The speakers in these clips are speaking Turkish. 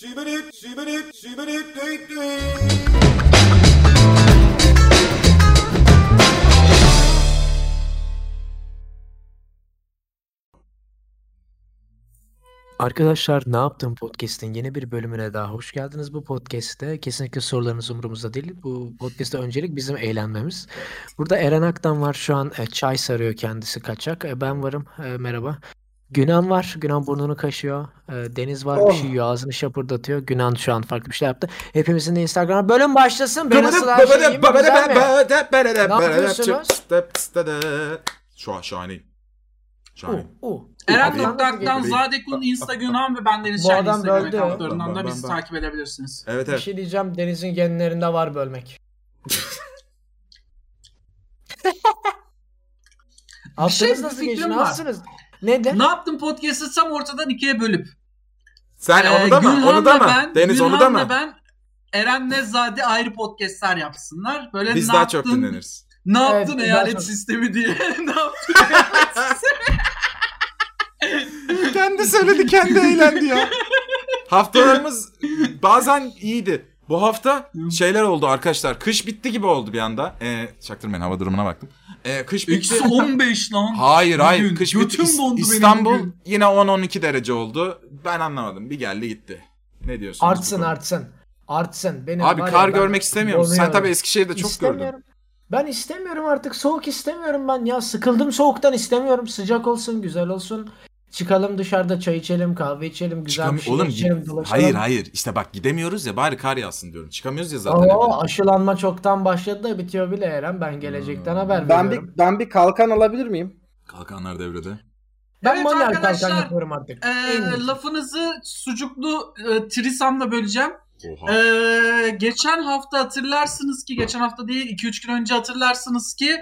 Sübülüp, sübülüp, sübülüp, düt düt. Arkadaşlar Ne Yaptın Podcast'in yeni bir bölümüne daha hoş geldiniz. Bu podcast'te kesinlikle sorularınız umurumuzda değil. Bu podcast'te öncelik bizim eğlenmemiz. Burada Eren Aktan var şu an e, çay sarıyor kendisi kaçak. E, Ben varım e, merhaba. Günan var. Günan burnunu kaşıyor. E, Deniz var bir şey yiyor ağzını şapırdatıyor. Günan şu an farklı bir şeyler yaptı. Hepimizin de Instagram bölüm başlasın. Beni nasıl her şey iyi mi, güzel mi? Ne yapıyorsunuz? Şu an şahane. Oo, Şahane. oo. Eren Abi- Toprak'tan Abi- Zadekun Instagram ve ben Deniz Bu Şahin adam Instagram böldü. hesaplarından Ben- da ben- bizi ben- takip edebilirsiniz. Evet Bir evet. şey diyeceğim Deniz'in genlerinde var bölmek. Bir Haftanız şey, nasıl bir geçti? fikrim var. Nasılsınız? Neden? Ne yaptım podcast'ı tam ortadan ikiye bölüp. Sen Ee, Hani onu da mı? Onu da Gülhan'la mı? ben- Deniz onu da Gülhan'la mı? ben Eren'le Zade ayrı podcast'ler yapsınlar. Böyle Biz ne daha yaptın, çok dinleniriz. Ne Evet, yaptın biz daha eyalet çok- sistemi diye. ne yaptın eyalet sistemi? kendi söyledi kendi eğlendi ya. Haftalarımız bazen iyiydi. Bu hafta şeyler oldu arkadaşlar. Kış bitti gibi oldu bir anda. Ee, çaktırmayın hava durumuna baktım. Ee, kış bitti. Eksi 15 lan. Hayır hayır. Bugün Kış götüm bitti. İs- dondu benim İstanbul bugün. yine 10-12 derece oldu. Ben anlamadım. Bir geldi gitti. Ne diyorsun? Artsın artsın. Artsın. Benim Abi var ya, kar ben görmek istemiyor musun? Sen donuyorum. tabii Eskişehir'de çok gördün. İstemiyorum. Ben istemiyorum artık. Soğuk istemiyorum ben ya. Sıkıldım soğuktan istemiyorum. Sıcak olsun, güzel olsun. Çıkalım dışarıda çay içelim, kahve içelim, güzel bir Çıkam- şey Oğlum içelim, git- dolaşalım. Hayır hayır. İşte bak gidemiyoruz ya bari kar yağsın diyorum. Çıkamıyoruz ya zaten. Oo, evden. aşılanma çoktan başladı da bitiyor bile Eren. Ben gelecekten Hmm. haber Ben veriyorum. bir ben bir kalkan alabilir miyim? Kalkanlar devrede. Ben Evet manuel arkadaşlar, kalkan yapıyorum artık. Ee, En iyisi. lafınızı sucuklu e, trisamla böleceğim. Oha. Ee, geçen hafta hatırlarsınız ki, geçen hafta değil 2-3 gün önce hatırlarsınız ki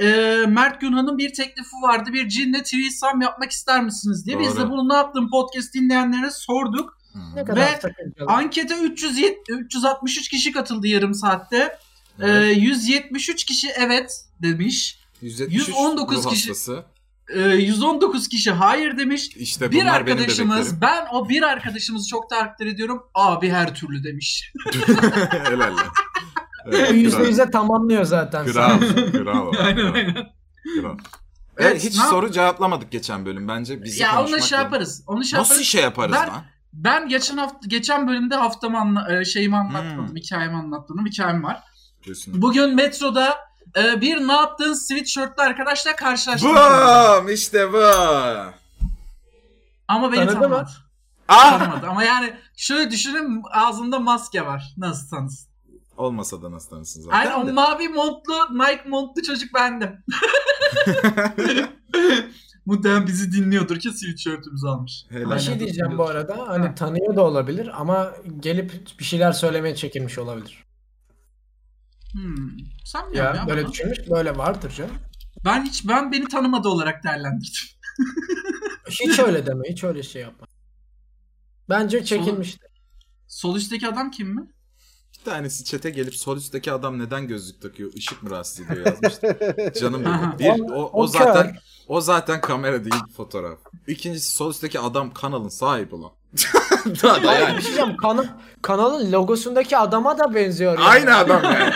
e, Mert Günhan'ın bir teklifi vardı. Bir cinle threesome yapmak ister misiniz diye. Biz Doğru. de bunu ne yaptım podcast dinleyenlere sorduk. Ne Hı. kadar Ve sakıncalı. Ankete 300, 363 kişi katıldı yarım saatte. Ee, Evet. 173 kişi evet demiş. 173 119 ruh kişi. hastası. Ee, 119 kişi hayır demiş. İşte bir bunlar arkadaşımız, benim ben o bir arkadaşımızı çok takdir ediyorum. Abi her türlü demiş. bebeklerim. Helal lan. Evet, Yüzde kral. yüze tamamlıyor zaten. Kral. Kral. o, aynen kral, aynen. kral. Evet, Evet, hiç ne yap- soru cevaplamadık geçen bölüm bence. Bizi ya onu konuşmak şey lazım. yaparız. Onu şey Nasıl yaparız. şey yaparız Ben- lan? Ben geçen hafta geçen bölümde haftamı anla, e, şeyimi anlatmadım, Hmm. hikayemi anlatmadım, hikayem var. Diyorsun. Bugün metroda e, bir ne yaptığın sweatshirtli arkadaşla karşılaştım. Bam! işte bu. Ama beni Tanıdı tanımadı. Ah! tanımadı. Ama yani şöyle düşünün ağzında maske var. Nasıl tanısın? Olmasa da nasıl tanırsın zaten. Aynen o de. mavi montlu, Nike montlu çocuk bendim. Muhtemelen bizi dinliyordur ki sweatshirtümüzü almış. Helal. Bir şey diyeceğim bu arada. Hani Ha. tanıyor da olabilir ama gelip bir şeyler söylemeye çekinmiş olabilir. Hmm. Sen mi Ya, ya, ya böyle şey- bana? düşünmüş böyle vardır canım. Ben hiç ben beni tanımadı olarak değerlendirdim. Hiç öyle deme. Hiç öyle şey yapma. Bence çekinmiştir. Sol üstteki adam kim mi? Bir tanesi çete gelip sol üstteki adam neden gözlük takıyor? Işık mı rahatsız ediyor yazmıştı. Canım benim. Aha. Bir, o, o O zaten o zaten kamera değil fotoğraf. İkincisi sol üstteki adam kanalın sahibi olan. Daha da Hayır, bir yani. şey diyeceğim. Kana- kanalın logosundaki adama da benziyor. yani. Aynı adam yani.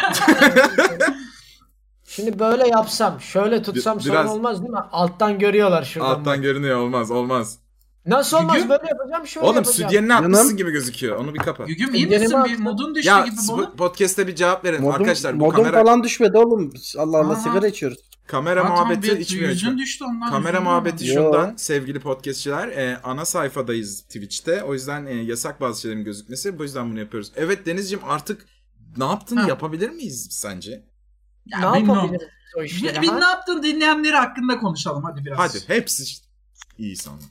Şimdi böyle yapsam, şöyle tutsam Bir- sorun biraz- olmaz değil mi? Alttan görüyorlar şuradan. bak. Alttan görünüyor olmaz olmaz. Nasıl olmaz? Gügü- Böyle yapacağım, şöyle Oğlum yapacağım. sütyenini Canım. atmışsın gibi gözüküyor. Onu bir kapat. Gügüm iyi Ellerimi misin? Bir attım. modun düştü Ya gibi siz bana. bu podcast'te bir cevap verin Modum, arkadaşlar. Bu modum kamera falan düşmedi oğlum. Allah Allah Aha. sigara içiyoruz. kamera Aa, tamam, muhabbeti bir- içmiyor. Yüzün içmiyor. düştü ondan. Kamera yüzün muhabbeti düştü. Yo. şundan sevgili podcastçiler. e, ana sayfadayız Twitch'te. O yüzden e, yasak bazı şeylerin gözükmesi. Bu yüzden bunu yapıyoruz. Evet Denizciğim artık ne yaptın Ha. yapabilir miyiz sence? Ya, ne bilmiyorum. yapabiliriz o işleri? Bir, bir ha? ne yaptın dinleyenleri hakkında konuşalım hadi biraz. Hadi hepsi işte- iyi sanırım.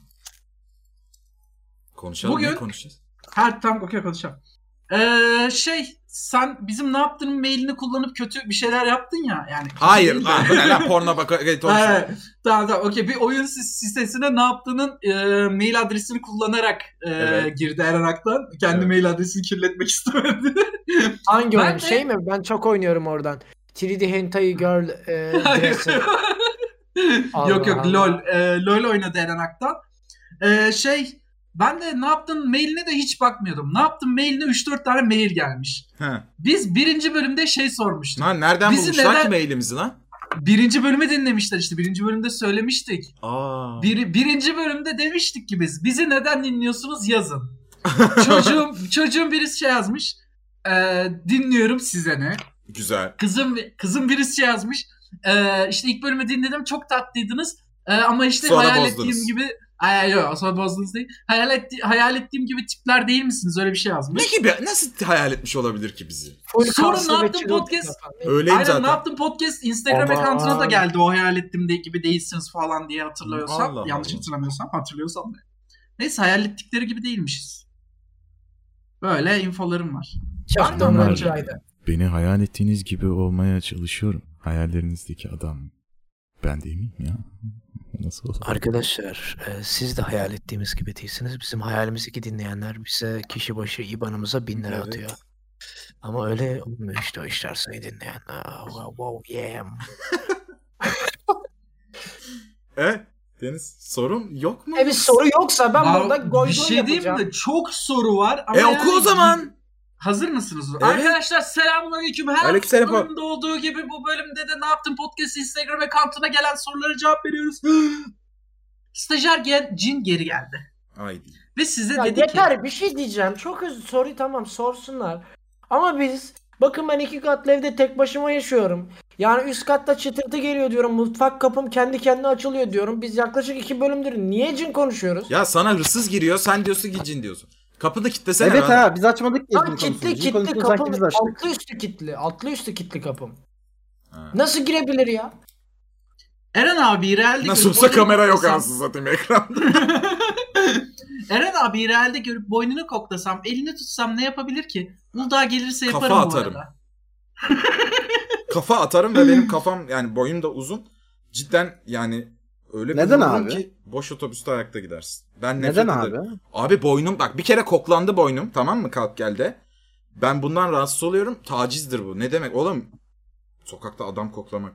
Konuşalım Bugün- ne konuşacağız? Her tam okey konuşalım. Ee, şey sen bizim ne yaptığın mailini kullanıp kötü bir şeyler yaptın ya yani. Hayır Değil de- lan lan porno baka Evet. Tamam tamam okey bir oyun sis- sitesine ne yaptığının e, mail adresini kullanarak e, Evet. girdi Eren Aktan. Kendi Evet. mail adresini kirletmek istemedi. Hangi Ben oyun? de- Şey mi? Ben çok oynuyorum oradan. 3D Hentai Girl e, Dresser. Allah yok yok Allah. LOL. E, LOL oynadı Eren Aktan. E, şey Ben de ne yaptın mailine de hiç bakmıyordum. Ne yaptın mailine 3-4 tane mail gelmiş. He. Biz birinci bölümde şey sormuştuk. Lan nereden Bizi bulmuşlar neden- ki mailimizi lan? Birinci bölümü dinlemişler işte. Birinci bölümde söylemiştik. Aa. Bir, birinci bölümde demiştik ki biz bizi neden dinliyorsunuz yazın. çocuğum çocuğum birisi şey yazmış. "Ee, dinliyorum size ne. Güzel. Kızım kızım birisi şey yazmış. "Ee, işte ilk bölümü dinledim çok tatlıydınız. Ee, ama işte Sonra hayal bozdunuz. ettiğim gibi Ay, ay, yok sonra bozdunuz değil. Hayal, etti, hayal ettiğim gibi tipler değil misiniz? Öyle bir şey yazmış. Ne gibi nasıl hayal etmiş olabilir ki bizi? Full Sonra kaslı ne ve yaptın çırılçıplak podcast? falan. Öyleyim Aynen zaten. ne yaptın podcast Instagram Aman. account'una da geldi o hayal ettiğimde gibi değilsiniz falan diye hatırlıyorsam. Allah yanlış Allah. hatırlamıyorsam hatırlıyorsam da. Neyse hayal ettikleri gibi değilmişiz. Böyle infolarım var. İki hafta Aynen ondan öyle. iki ayda. Beni hayal ettiğiniz gibi olmaya çalışıyorum. Hayallerinizdeki adam. Ben değil miyim ya? Nasıl olur? Arkadaşlar e, siz de hayal ettiğimiz gibi değilsiniz. Bizim hayalimizdeki dinleyenler bize kişi başı IBAN'ımıza bin lira Evet. atıyor. Ama öyle olmuyor işte o işler sayı dinleyen. Aa, wow, wow, yeah. E, Deniz sorum yok mu? E bir soru yoksa ben Daha burada goy bir goy şey diyeyim yapacağım. de çok soru var. Ama E oku o yani- zaman. Hazır mısınız? Evet. Arkadaşlar selamünaleyküm. Her Aleykümselam. bölümde olduğu gibi bu bölümde de ne yaptın podcast Instagram account'una gelen sorulara cevap veriyoruz. Stajyer gel, Cin geri geldi. Haydi. Ve size Ya dedi ki... yeter bir şey diyeceğim. Çok özür soruyu tamam sorsunlar. Ama biz bakın ben iki katlı evde tek başıma yaşıyorum. Yani üst katta çıtırtı geliyor diyorum. Mutfak kapım kendi kendine açılıyor diyorum. Biz yaklaşık iki bölümdür niye cin konuşuyoruz? Ya sana hırsız giriyor sen diyorsun ki cin diyorsun. Kapı da kilitlesene. Evet ben- ha biz açmadık ki. Lan izin kitli konusunu. İzin kitli konusunu sanki kapım. biz açtık. Altlı üstü kitli. Altlı üstü kitli kapım. Ha. Nasıl girebilir ya? Eren abi realde Nasıl görüp olsa boynunu kamera yok koklasam- anasını satayım ekranda. Eren abi realde görüp boynunu koklasam, elini tutsam ne yapabilir ki? Uludağ gelirse Kafa yaparım bu atarım. arada. Kafa atarım ve benim kafam yani boyum da uzun. Cidden yani öyle bir Neden vururum abi? ki boş otobüste ayakta gidersin. Ben nefret Neden ederim. abi? Abi boynum bak bir kere koklandı boynum tamam mı kalk gelde. Ben bundan rahatsız oluyorum. Tacizdir bu. Ne demek oğlum? Sokakta adam koklamak.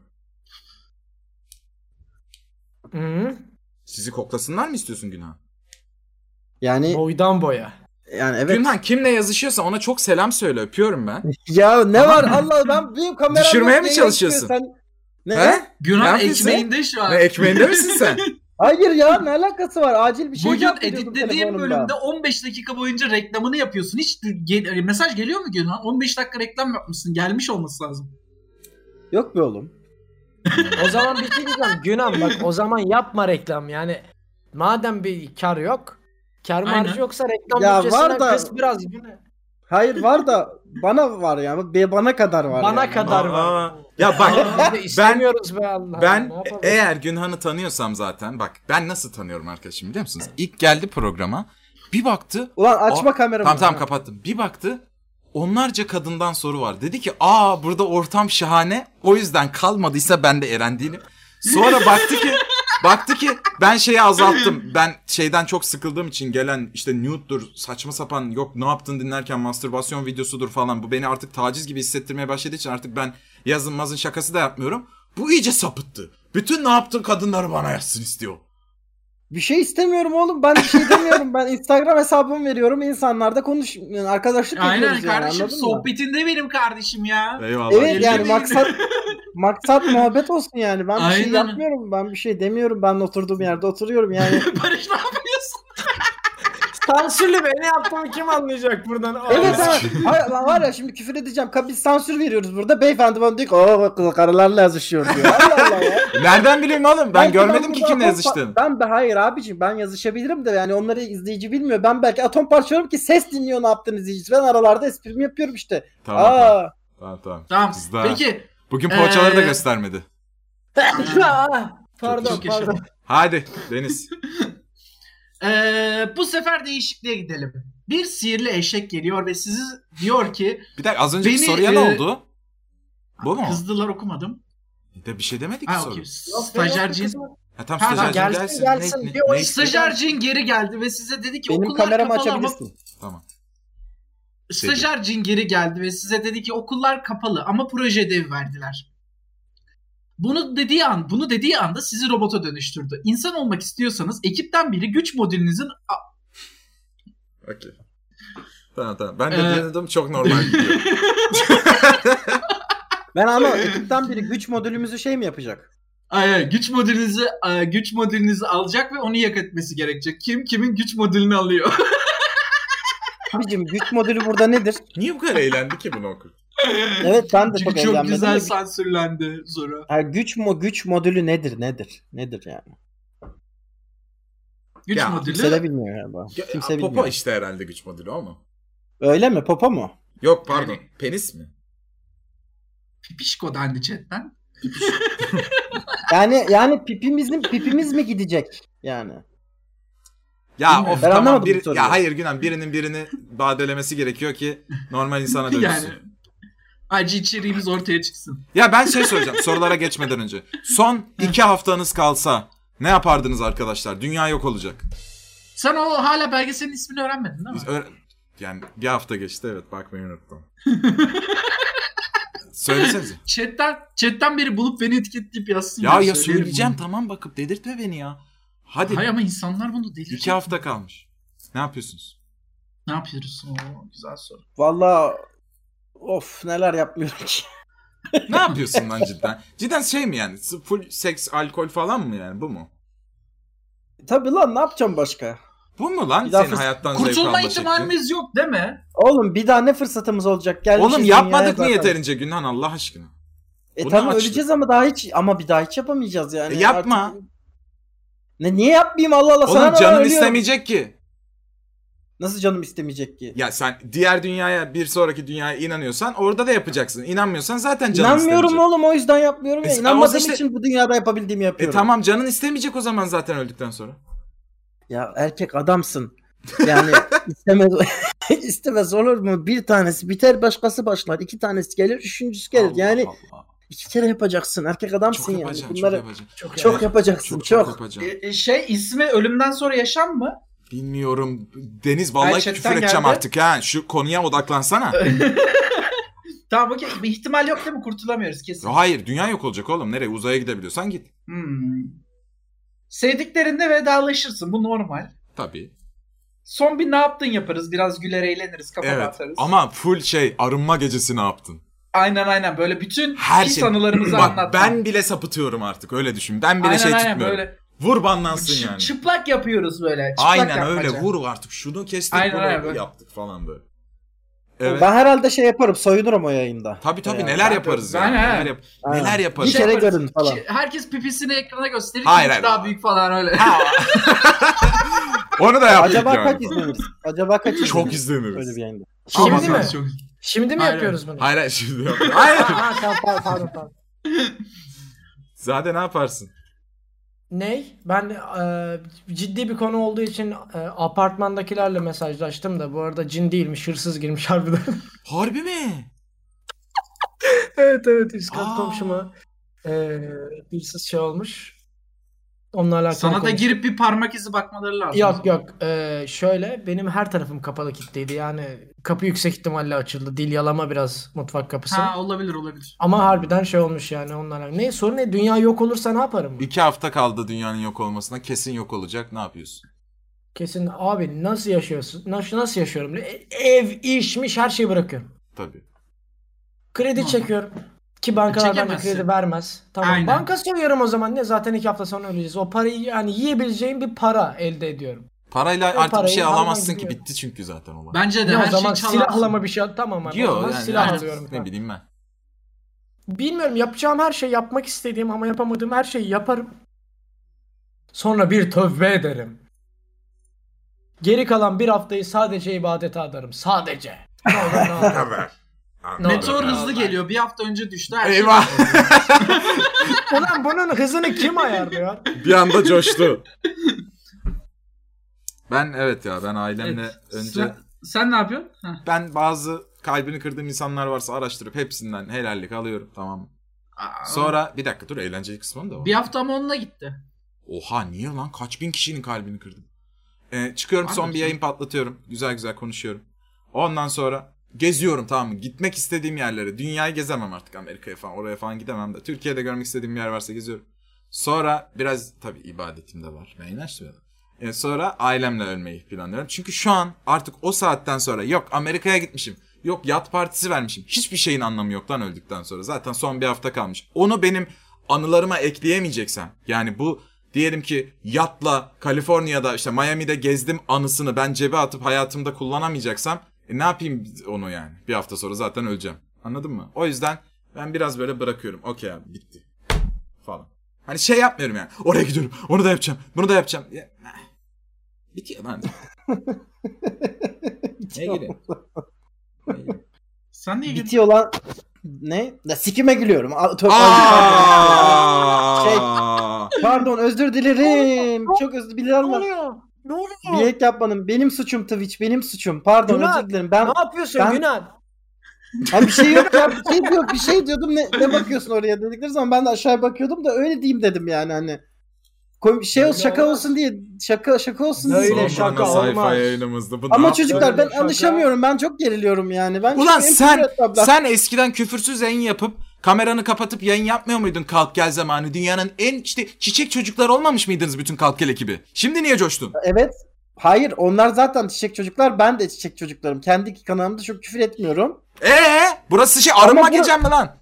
Hı? Sizi koklasınlar mı istiyorsun Günhan? Yani Boydan boya. yani evet. Günhan kimle yazışıyorsa ona çok selam söyle. Öpüyorum ben. Ya ne var Allah ben benim kameram Düşürmeye yok, mi yayına çalışıyorsun? gidiyor, Sen... Ne? He? Günah Ne yapıyorsun? ekmeğinde şu an. Ne ekmeğinde misin sen? Hayır ya ne alakası var? Acil bir şey Bugün cevap veriyordum editlediğim telefonumda. bölümde 15 dakika boyunca reklamını yapıyorsun. Hiç gel- e, mesaj geliyor mu Günhan? 15 dakika reklam yapmışsın. Gelmiş olması lazım. Yok be oğlum. O zaman bir şey diyeceğim. Günah bak o zaman yapma reklam yani. Madem bir kar yok. Kar Aynen. marjı yoksa reklam Ya bütçesine var da- kıs biraz. Yine. Hayır var da bana var ya. be- Bana kadar var Bana yani. kadar var. Aa, ya bak Biz de istemiyoruz be Allah. ben e- Ne yapalım? eğer Günhan'ı tanıyorsam zaten bak ben nasıl tanıyorum arkadaşım biliyor musunuz? İlk geldi programa bir baktı Ulan açma kameramı. Tamam tamam kapattım. Bir baktı onlarca kadından soru var. Dedi ki aa burada ortam şahane o yüzden kalmadıysa ben de Eren değilim. Sonra baktı ki baktı ki ben şeyi azalttım. Ben şeyden çok sıkıldığım için gelen işte nude'dur saçma sapan yok ne yaptın dinlerken mastürbasyon videosudur falan. Bu beni artık taciz gibi hissettirmeye başladığı için artık ben yazın mazın şakası da yapmıyorum. Bu iyice sapıttı. Bütün ne yaptın kadınları bana yazsın istiyor. Bir şey istemiyorum oğlum. Ben bir şey demiyorum. Ben Instagram hesabımı veriyorum. İnsanlar da konuş. Yani arkadaşlık Aynen yapıyoruz yani, kardeşim anladın mı? sohbetinde benim kardeşim ya. Eyvallah. Evet yani Elbette. maksat maksat muhabbet olsun yani. Ben bir şey Aynen. yapmıyorum. Ben bir şey demiyorum. Ben oturduğum yerde oturuyorum yani. Barış ne yapıyorsun? Sansürlü be ne yaptığımı kim anlayacak buradan? evet Allah. ha. Hayır, lan var ya şimdi küfür edeceğim. Ka- Biz sansür veriyoruz burada. Beyefendi bana diyor ki o kız karılarla yazışıyor diyor. Allah Allah ya. Nereden bileyim oğlum? Ben Belki görmedim ki burada kimle atom yazıştığını. pa- Ben de hayır abicim ben yazışabilirim de yani onları izleyici bilmiyor. Ben belki atom parçalarım ki ses dinliyor ne yaptığını izleyici. Ben aralarda esprimi yapıyorum işte. Tamam, tamam. Aa. Tamam tamam. Tamam. Kızlar. Peki. Bugün poğaçaları da Ee, göstermedi. Aa, Ah, pardon Çok yaşa. pardon. Hadi Deniz. Ee, bu sefer değişikliğe gidelim. Bir sihirli eşek geliyor ve sizi diyor ki Bir dakika az önceki Beni, soruya e, ne oldu? Bu mu? kızdılar okumadım. De bir şey demedik ki Ha soru. okey. Stajyer Cin. Ha, tam Ha, stajyer gelsin, gelsin. gelsin. Ne- Bir o ne- iş- Stajyer Cin geri geldi ve size dedi ki Benim okullar kameramı kapalı ama açabilirsin. Tamam. Stajyer Cin geri geldi ve size dedi ki okullar kapalı ama proje ödevi verdiler. Bunu dediği an, bunu dediği anda sizi robota dönüştürdü. İnsan olmak istiyorsanız ekipten biri güç modülünüzün a- Okey. Tamam tamam. Ben de Ee, denedim çok normal gidiyor. Ben ama ekipten biri güç modülümüzü şey mi yapacak? Ay, e, güç modülünüzü ay, güç modülünüzü alacak ve onu yak etmesi gerekecek. Kim kimin güç modülünü alıyor? Abicim güç modülü burada nedir? Niye bu kadar eğlendi ki bunu okur? Evet ben de Çünkü çok çok, eğlenmedim. güzel de- sansürlendi Zora. Ha, güç mo güç modülü nedir nedir? Nedir yani? Güç Ya, Kimse de modülü. bilmiyor galiba. Ya, Kimse popo bilmiyor. işte herhalde güç modülü o mu? Öyle mi? Popo mu? Yok pardon. Penis mi? Pipişko dendi chatten. Yani yani pipimizin pipimiz mi gidecek yani? Ya Bilmiyorum. of Ben tamam. anlamadım biri- bu soruyu. ya hayır Günan birinin birini badelemesi gerekiyor ki normal insana dönüşsün. Yani. Acı içeriğimiz ortaya çıksın. Ya ben şey soracağım sorulara geçmeden önce. Son iki haftanız kalsa ne yapardınız arkadaşlar? Dünya yok olacak. Sen o hala belgeselin ismini öğrenmedin değil mi? Biz öyle- yani bir hafta geçti evet bakmayı unuttum. Söylesenize. Chatten, chatten biri bulup beni etiketleyip yazsın. Ya Ben ya söylerim söyleyeceğim bunu. tamam bakıp dedirtme beni ya. Hadi Hayır ama insanlar bunu delirecek. iki hafta kalmış. Ne yapıyorsunuz? Ne yapıyoruz? Oo, güzel soru. Vallahi of neler yapmıyorum ki. Ne yapıyorsun lan cidden? Cidden şey mi yani? Full seks, alkol falan mı yani bu mu? Tabii lan ne yapacağım başka? Bu mu lan Bir daha senin fırs- hayattan zevk Kurtulma alma şeklin? ihtimalimiz yok değil mi? Oğlum bir daha ne fırsatımız olacak? Gelmişiz Oğlum dünyaya yapmadık mı zaten. yeterince Günhan Allah aşkına? E Bunu tamam açtık. öleceğiz ama daha hiç ama bir daha hiç yapamayacağız yani. E, yapma. Artık- Ne niye yapmayayım Allah Allah sana Oğlum ne canın var, ölüyorum. istemeyecek ki. Nasıl canım istemeyecek ki? Ya sen diğer dünyaya bir sonraki dünyaya inanıyorsan orada da yapacaksın. İnanmıyorsan zaten canın İnanmıyorum istemeyecek. oğlum o yüzden yapmıyorum ya. E, ama İnanmadığım işte- için bu dünyada yapabildiğimi E yapıyorum. tamam canın istemeyecek o zaman zaten öldükten sonra. Ya erkek adamsın. Yani istemez istemez olur mu? Bir tanesi biter başkası başlar. iki tanesi gelir üçüncüsü gelir. Allah yani Allah. iki kere yapacaksın. Erkek çok adamsın yani. yapacaksın, Bunları çok yapacaksın. çok, yapacaksın. yapacaksın. Çok, Çok. çok yapacaksın. E, e, şey ismi ölümden sonra yaşam mı? Bilmiyorum. Deniz vallahi Ay, chatten küfür edeceğim geldi. artık ha. Şu konuya odaklansana. Tamam okey. Bir ihtimal yok değil mi? Kurtulamıyoruz kesin. Hayır dünya yok olacak oğlum. Nereye uzaya gidebiliyorsan git. Hmm. Sevdiklerinde vedalaşırsın. Bu normal. Tabii. Son bir ne yaptın yaparız. Biraz güler eğleniriz. Kafa evet. atarız. Ama full şey arınma gecesi ne yaptın? Aynen aynen. Böyle bütün Her pis şey. anılarımızı Bak anlat. ben bile sapıtıyorum artık öyle düşün. Ben bile aynen, şey aynen, tutmuyorum. Böyle Vur banlansın çı- yani. Çıplak yapıyoruz böyle. E, Çıplak Aynen yapmaca. öyle vur artık şunu kestik Aynen, bunu aynen, böyle. yaptık falan böyle. Evet. Ben herhalde şey yaparım. Soyunurum o yayında. Tabii tabii Yani neler ben- yaparız ben- yani. Neler, he. yap- Aynen. neler Bir yaparız. Şey kere yaparız. görün falan. Ki Herkes pipisini ekrana gösterir. Hayır, Hayır, hayır. daha büyük falan öyle. Ha. Onu da yaptık Acaba yani. kaç izleniriz? Acaba kaç izleniriz? Çok Öyle izleniriz. bir yayında. Şey Ama Şimdi mi? sen- Şimdi mi Aynen. yapıyoruz bunu? Hayır hayır şimdi yapma. Hayır. Aa, tamam, pardon, pardon, pardon. Zaten ne yaparsın? Ney? Ben e, ciddi bir konu olduğu için e, apartmandakilerle mesajlaştım da bu arada cin değilmiş, hırsız girmiş harbiden. Harbi mi? evet evet üst kat Aa. komşuma e, hırsız şey olmuş. Onunla alakalı Sana da konuştum. girip bir parmak izi bakmaları lazım. Yok yok Ee, şöyle benim her tarafım kapalı kilitliydi yani kapı yüksek ihtimalle açıldı dil yalama biraz mutfak kapısı Ha olabilir olabilir. ama harbiden şey olmuş yani onlara ne sorun ne dünya yok olursa ne yaparım İki hafta kaldı dünyanın yok olmasına. Kesin yok olacak. Ne yapıyorsun? kesin abi nasıl yaşıyorsun nasıl nasıl yaşıyorum E- ev işmiş her şeyi bırakıyorum Tabii. kredi Normal. çekiyorum ki bankalar bana Çekemezsin. kredi vermez tamam Aynen. banka soruyorum o zaman ne zaten iki hafta sonra öleceğiz o parayı yani yiyebileceğim bir para elde ediyorum Parayla O artık bir parayı şey alman alamazsın ki. gidiyor. Bitti çünkü zaten olay. Bence de Ne o her zaman şey çalarsın. silahlama bir şey tamam abi o Diyor zaman yani silah artık alıyorum ne bileyim ben. Bilmiyorum yapacağım her şeyi yapmak istediğim ama yapamadığım her şeyi yaparım. Sonra bir tövbe ederim. Geri kalan bir haftayı sadece ibadete adarım. Sadece. Ne olur ne olur. Ne olur. Meteor Ne hızlı olur. geliyor. Bir hafta önce düştü. Her şey Eyvah. Ulan bunun hızını kim ayarlıyor? bir anda coştu. Ben evet ya ben ailemle Evet. önce Sen, sen ne yapıyorsun? Ha. ben bazı kalbini kırdığım insanlar varsa araştırıp hepsinden helallik alıyorum tamam. Aa, Sonra bir dakika dur eğlenceli kısmım da var. bir hafta mı onunla gitti? Oha niye lan kaç bin kişinin kalbini kırdım. Ee, çıkıyorum Var son mı bir sen? yayın patlatıyorum. Güzel güzel konuşuyorum. Ondan sonra geziyorum tamam mı? Gitmek istediğim yerlere. Dünyayı gezemem artık Amerika'ya falan. Oraya falan gidemem de. Türkiye'de görmek istediğim bir yer varsa geziyorum. Sonra biraz tabii ibadetim de var. Meynaş E, sonra ailemle ölmeyi planlıyorum. Çünkü şu an artık o saatten sonra yok Amerika'ya gitmişim. Yok yat partisi vermişim. Hiçbir şeyin anlamı yok lan öldükten sonra. Zaten son bir hafta kalmış. Onu benim anılarıma ekleyemeyeceksen. Yani bu diyelim ki yatla Kaliforniya'da işte Miami'de gezdim anısını ben cebe atıp hayatımda kullanamayacaksam e, ne yapayım onu yani? Bir hafta sonra zaten öleceğim. Anladın mı? O yüzden ben biraz böyle bırakıyorum. Okey abi bitti. Falan. Hani şey yapmıyorum yani. Oraya gidiyorum. Onu da yapacağım. Bunu da yapacağım. Ya, Bitiyor lan. ne gülüyorsun? Sen niye gidiyorsun? Bitiyor lan. Ne? Ya sikime gülüyorum. A- tövbe- Şey- Aa! Pardon özür dilerim. Çok özür dilerim. Ne oluyor? Bilerek yapmadım. Benim suçum Twitch. Benim suçum. Pardon Günah. özür dilerim. Ben Ne yapıyorsun Ben- Yunan? Abi bir şey yok ya. Bir şey yok. Bir şey diyordum. Ne, ne bakıyorsun oraya dedikleri zaman ben de aşağıya bakıyordum da öyle diyeyim dedim yani hani. Koy- Şey olsun, şaka olsun diye. Şaka şaka olsun diye. Öyle Sonra şaka ana Şey, sayfa olmaz. yayınımızdı. Bu Ama ne yaptı? çocuklar ben Öyle şaka. alışamıyorum. Ben çok geriliyorum yani. Ben Ulan çok sen- empati tabla- Sen eskiden küfürsüz yayın yapıp kameranı kapatıp yayın yapmıyor muydun kalk gel zamanı? Dünyanın en işte çiçek çocuklar olmamış mıydınız bütün kalk gel ekibi? Şimdi niye coştun? Evet. Hayır onlar zaten çiçek çocuklar. Ben de çiçek çocuklarım. Kendi kanalımda çok küfür etmiyorum. Ee, burası şey arınma Ama bu- gecem mi lan?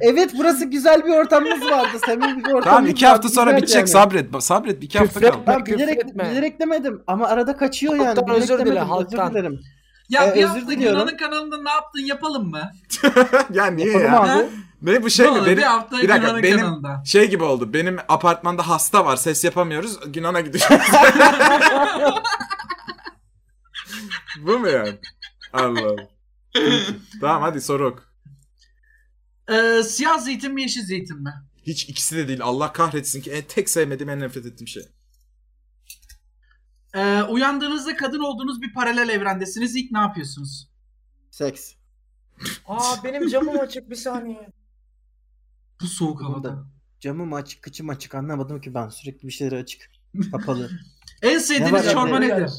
Evet burası güzel bir ortamımız vardı. Sevimli bir ortamımız Tamam iki vardı, hafta sonra güzel bitecek yani. sabret. Sabret bir iki hafta Küfret- kaldı. Ben Küfür bilerek, etme. bilerek demedim ama arada kaçıyor yani. Halktan Bilerek özür dile, demedim, halktan. Özür dilerim. Ya Ee, E, bir özür hafta diliyorum. Yunan'ın kanalında ne yaptın yapalım mı? ya niye Yapalım ya? abi. Ha? Ne bu şey Ne mi? olur, Benim, bir hafta bir dakika, Yunan'ın benim- kanalında. Şey gibi oldu. Benim apartmanda hasta var. Ses yapamıyoruz. Günan'a gidiyoruz. Bu mu yani? Allah Allah. tamam hadi sorok. Ee, siyah zeytin mi yeşil zeytin mi? Hiç ikisi de değil. Allah kahretsin ki en tek sevmediğim en nefret ettiğim şey. Ee, uyandığınızda kadın olduğunuz bir paralel evrendesiniz. İlk ne yapıyorsunuz? Seks. Aa benim camım açık bir saniye. Bu soğuk Bunu havada. da- Camım açık, kıçım açık. Anlamadım ki ben sürekli bir şeyleri açık. Kapalı. En Ne sevdiğiniz var çorba abi? nedir?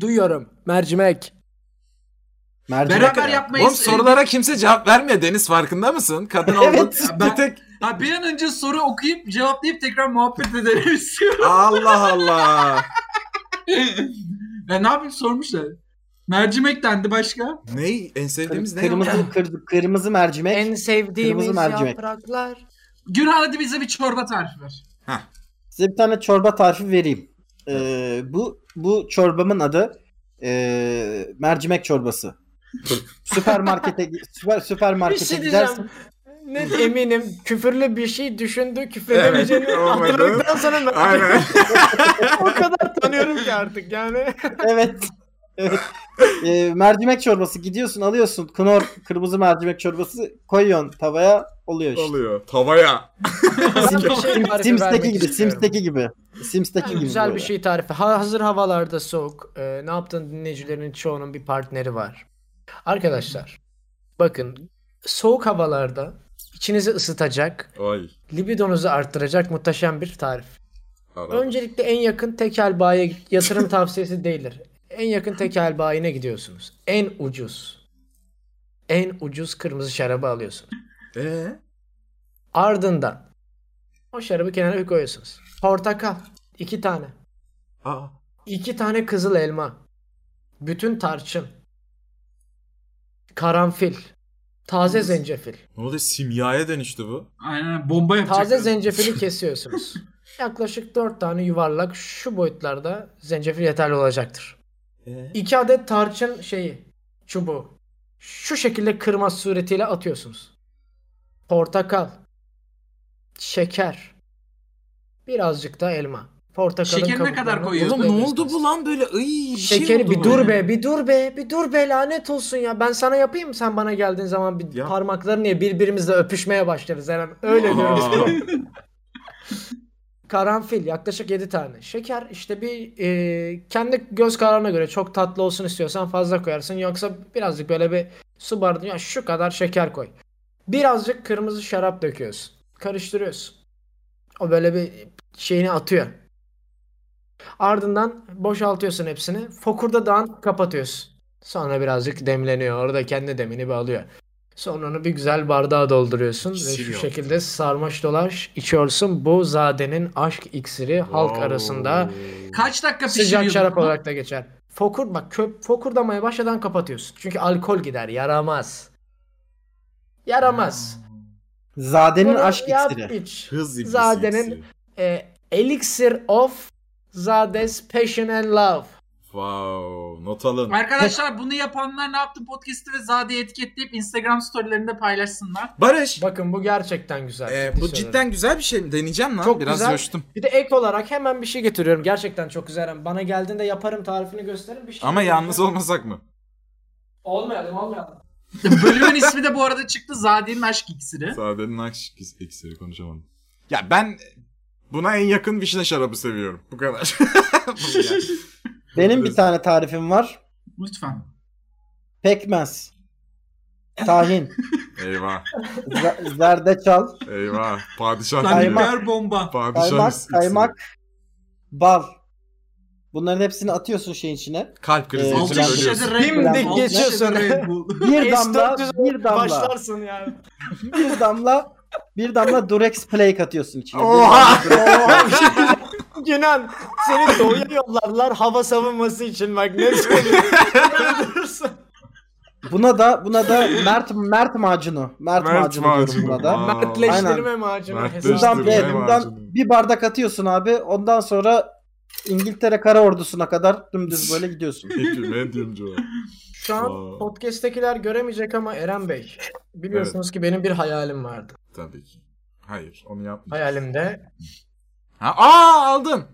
Duyuyorum. Mercimek. Merdiven. Beraber yapmayı... Oğlum sorulara kimse cevap vermiyor. Deniz farkında mısın? Kadın oldun. Evet. Bir tek Ha, bir an önce soru okuyup cevaplayıp tekrar muhabbet edelim istiyorum. Allah Allah. ya ne yapayım sormuşlar. Mercimek dendi başka. Ney? En sevdiğimiz ne? ya? Kırmızı, kır- kırmızı mercimek. En sevdiğimiz Kırmızı mercimek. yapraklar. Günhan hadi bize bir çorba tarifi ver. Size bir tane çorba tarifi vereyim. Ee, bu bu çorbamın adı ee, mercimek çorbası. süpermarkete süper Bir süpermarkete şey gidersin. diyeceğim. Ne eminim küfürlü bir şey düşündü küfür Evet, edemeyeceğini olmadı. hatırladıktan sonra ben- Aynen. o kadar tanıyorum ki artık yani. evet. Evet. Ee, mercimek çorbası gidiyorsun alıyorsun knor kırmızı mercimek çorbası koyuyorsun tavaya oluyor işte. Oluyor. Tavaya. Ben bir şey tarifi vermek Sims'teki gibi, istiyorum. Sims'teki gibi. Sims'teki Yani gibi. güzel böyle. bir şey tarifi. Ha- hazır havalarda soğuk. Ee, ne yaptığın dinleyicilerin çoğunun bir partneri var. Arkadaşlar bakın soğuk havalarda içinizi ısıtacak, Oy. libidonuzu arttıracak muhteşem bir tarif. Allah. Öncelikle en yakın tekel bayiye git- yatırım tavsiyesi değildir. En yakın tekel bayine gidiyorsunuz. En ucuz. En ucuz kırmızı şarabı alıyorsunuz. Ee? Ardından o şarabı kenara bir koyuyorsunuz. Portakal iki tane. Aa. İki tane kızıl elma. Bütün tarçın. Karanfil. Taze zencefil. Ne oldu? Simyaya dönüştü bu. Aynen bomba yapacak. Taze zencefili kesiyorsunuz. Yaklaşık 4 tane yuvarlak şu boyutlarda zencefil yeterli olacaktır. Ee? 2 adet tarçın şeyi, çubuğu. Şu şekilde kırma suretiyle atıyorsunuz. Portakal, şeker, birazcık da elma. Portakalın Şekeri ne kadar kabuklarını koyuyorsun? Oğlum ne oldu koyuyorsunuz. bu lan böyle? Iy, bir şey Şekeri oldu bir bu. dur be, bir dur be, bir dur be lanet olsun ya. Ben sana yapayım mı? sen bana geldiğin zaman bir Yap. parmaklarını ya birbirimizle öpüşmeye başlarız Eren. Öyle diyoruz. Karanfil yaklaşık 7 tane. Şeker işte bir e, kendi göz kararına göre çok tatlı olsun istiyorsan fazla koyarsın. Yoksa birazcık böyle bir su bardağı ya şu kadar şeker koy. Birazcık kırmızı şarap döküyorsun. Karıştırıyorsun. O böyle bir şeyini atıyor. Ardından boşaltıyorsun hepsini. Fokurda dağın kapatıyorsun. Sonra birazcık demleniyor. Orada kendi demini bir alıyor. Sonra onu bir güzel bardağa dolduruyorsun ve İksir şu yok. şekilde sarmaş dolaş içiyorsun. Bu zadenin aşk iksiri halk arasında Kaç dakika sıcak pişiriyorsun şarap bunu? olarak da geçer. Fokur bak köp fokurdamaya başladan kapatıyorsun. Çünkü alkol gider, yaramaz. Yaramaz. Zadenin Bunu Hmm. aşk yap iksiri. iç. Hız iblisi Zadenin- iksiri. E, elixir of Zades Passion and Love. Wow. Not alın. Arkadaşlar bunu yapanlar ne yaptı podcast'i ve Zade'yi etiketleyip Instagram storylerinde paylaşsınlar. Barış. Bakın bu gerçekten güzel. e, ciddi bu söylüyorum. cidden güzel bir şey mi? Deneyeceğim lan. Çok Biraz güzel. coştum. Bir de ek olarak hemen bir şey getiriyorum. Gerçekten çok güzel. Yani Bana geldiğinde yaparım tarifini gösteririm. Bir şey Ama getiriyorum. yalnız olmasak mı? Olmayalım olmayalım. Bölümün ismi de bu arada çıktı Zade'nin aşk iksiri. Zadenin aşk iksiri konuşamadım. Ya ben buna en yakın vişne şarabı seviyorum. Bu kadar. Bu yani. Benim bir tane tarifim var. Lütfen. Pekmez. Tahin. Eyvah. za- zerdeçal. Eyvah. Padişah Kaymak. geliyor. Nükleer bomba. Padişah Kaymak, iksiri. kaymak, bal. Bunların hepsini atıyorsun şeyin içine. Kalp krizi. Ee, geçirip Altı ben- ölüyorsun. şişede Red Bull. Dimdik Altı şişede geçiyorsun. Red Bull. Bir damla, S400 bir damla, Başlarsın yani. bir damla, bir damla Durex Play katıyorsun içine. Bir Oha! damla Durex- Günan seni doğuya yollarlar hava savunması için bak ne söylüyorsun. Buna da, buna da Mert, Mert macunu. Mert, Mert macunu, macunu. diyorum buna da. Aa. Mertleştirme macunu. Mertleştirme. Bundan, hesabı. Mertleştirme. evet, Mert bundan macunu. bir bardak atıyorsun abi. Ondan sonra İngiltere Kara Ordusu'na kadar dümdüz böyle gidiyorsun. Hekime diyorum Şu an Aa. podcast'tekiler göremeyecek ama Eren Bey biliyorsunuz ki benim bir hayalim vardı. Tabii ki. Hayır onu yapma. Hayalimde Ha, aa aldım.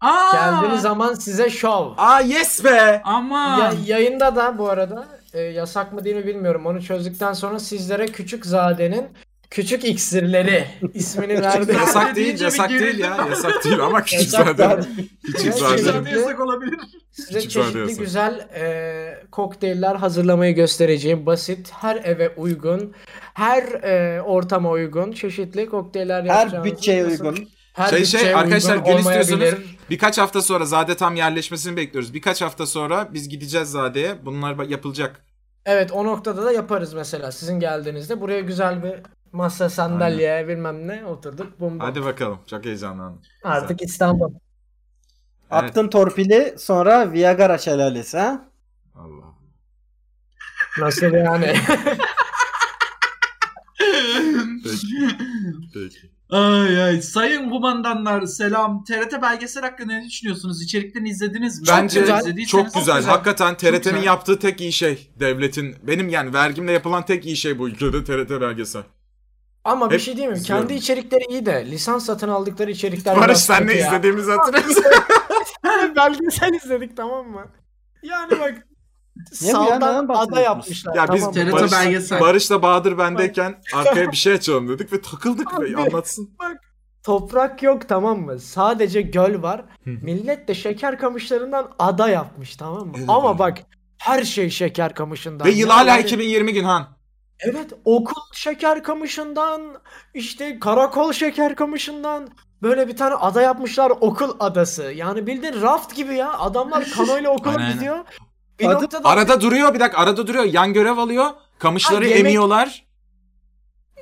Aa, geldiğiniz zaman size şov. Aa yes be. Ama Ya, yayında da bu arada e, yasak mı değil mi bilmiyorum. Onu çözdükten sonra sizlere Küçük Zade'nin Küçük İksirleri ismini verdim. Küçük Yasak değil, Deyince bir yasak değil gerildim. ya. Yasak değil ama küçük Yasak zaten. zaten. Küçük Yasak zaten. zaten. Zade yasak şey olabilir. Size Küçük Zade çeşitli yasak. güzel e, kokteyller hazırlamayı göstereceğim. Basit, her eve uygun, her e, ortama uygun çeşitli kokteyller Her yapacağınızı bütçeye nasıl- uygun. Her Şey, şey, bütçeye arkadaşlar uygun gül istiyorsanız olmayabilir. birkaç hafta sonra Zade tam yerleşmesini bekliyoruz. Birkaç hafta sonra biz gideceğiz Zade'ye. Bunlar ba- yapılacak. Evet o noktada da yaparız mesela sizin geldiğinizde. Buraya güzel bir masa, sandalye bilmem ne oturduk. Bum bum. Hadi bakalım. Çok heyecanlandım. Artık İstanbul. Evet. Attın torpili sonra Viagra şelalesi ha? Allah. Nasıl yani? Peki. ay ay. Sayın kumandanlar selam. TRT belgesel hakkında ne düşünüyorsunuz? İçeriklerini izlediniz mi? Bence güzel, çok güzel. izlediyseniz- Hakikaten TRT'nin güzel. yaptığı tek iyi şey devletin. Benim yani vergimle yapılan tek iyi şey bu ülkede TRT belgesel. Ama bir Hep şey diyeyim mi? izliyorum. Kendi içerikleri iyi de lisans satın aldıkları içerikler Barış biraz sen kötü ne ya. izlediğimizi hatırlıyorsun. Belgesel izledik tamam mı? Yani bak Ne bu ya? saldan Neden ada bahsediyorsunuz? yapmışlar. Ya biz tamam mı? TRT Barış- belgesel. Barış'la Bahadır bendeyken arkaya bir şey açalım dedik ve takıldık Abi. ve anlatsın. Toprak yok tamam mı? Sadece göl var. Hı. Millet de şeker kamışlarından ada yapmış tamam mı? Evet, Ama evet. bak her şey şeker kamışından. Ve yıl Yani- hala 2020 gün han. Evet okul şeker kamışından işte karakol şeker kamışından böyle bir tane ada yapmışlar okul adası. Yani bildiğin raft gibi ya adamlar kanoyla okula Aynen, aynen. gidiyor. Bir Adı- noktada Arada duruyor bir dakika arada duruyor. Yan görev alıyor. Kamışları Ha, yemek- emiyorlar.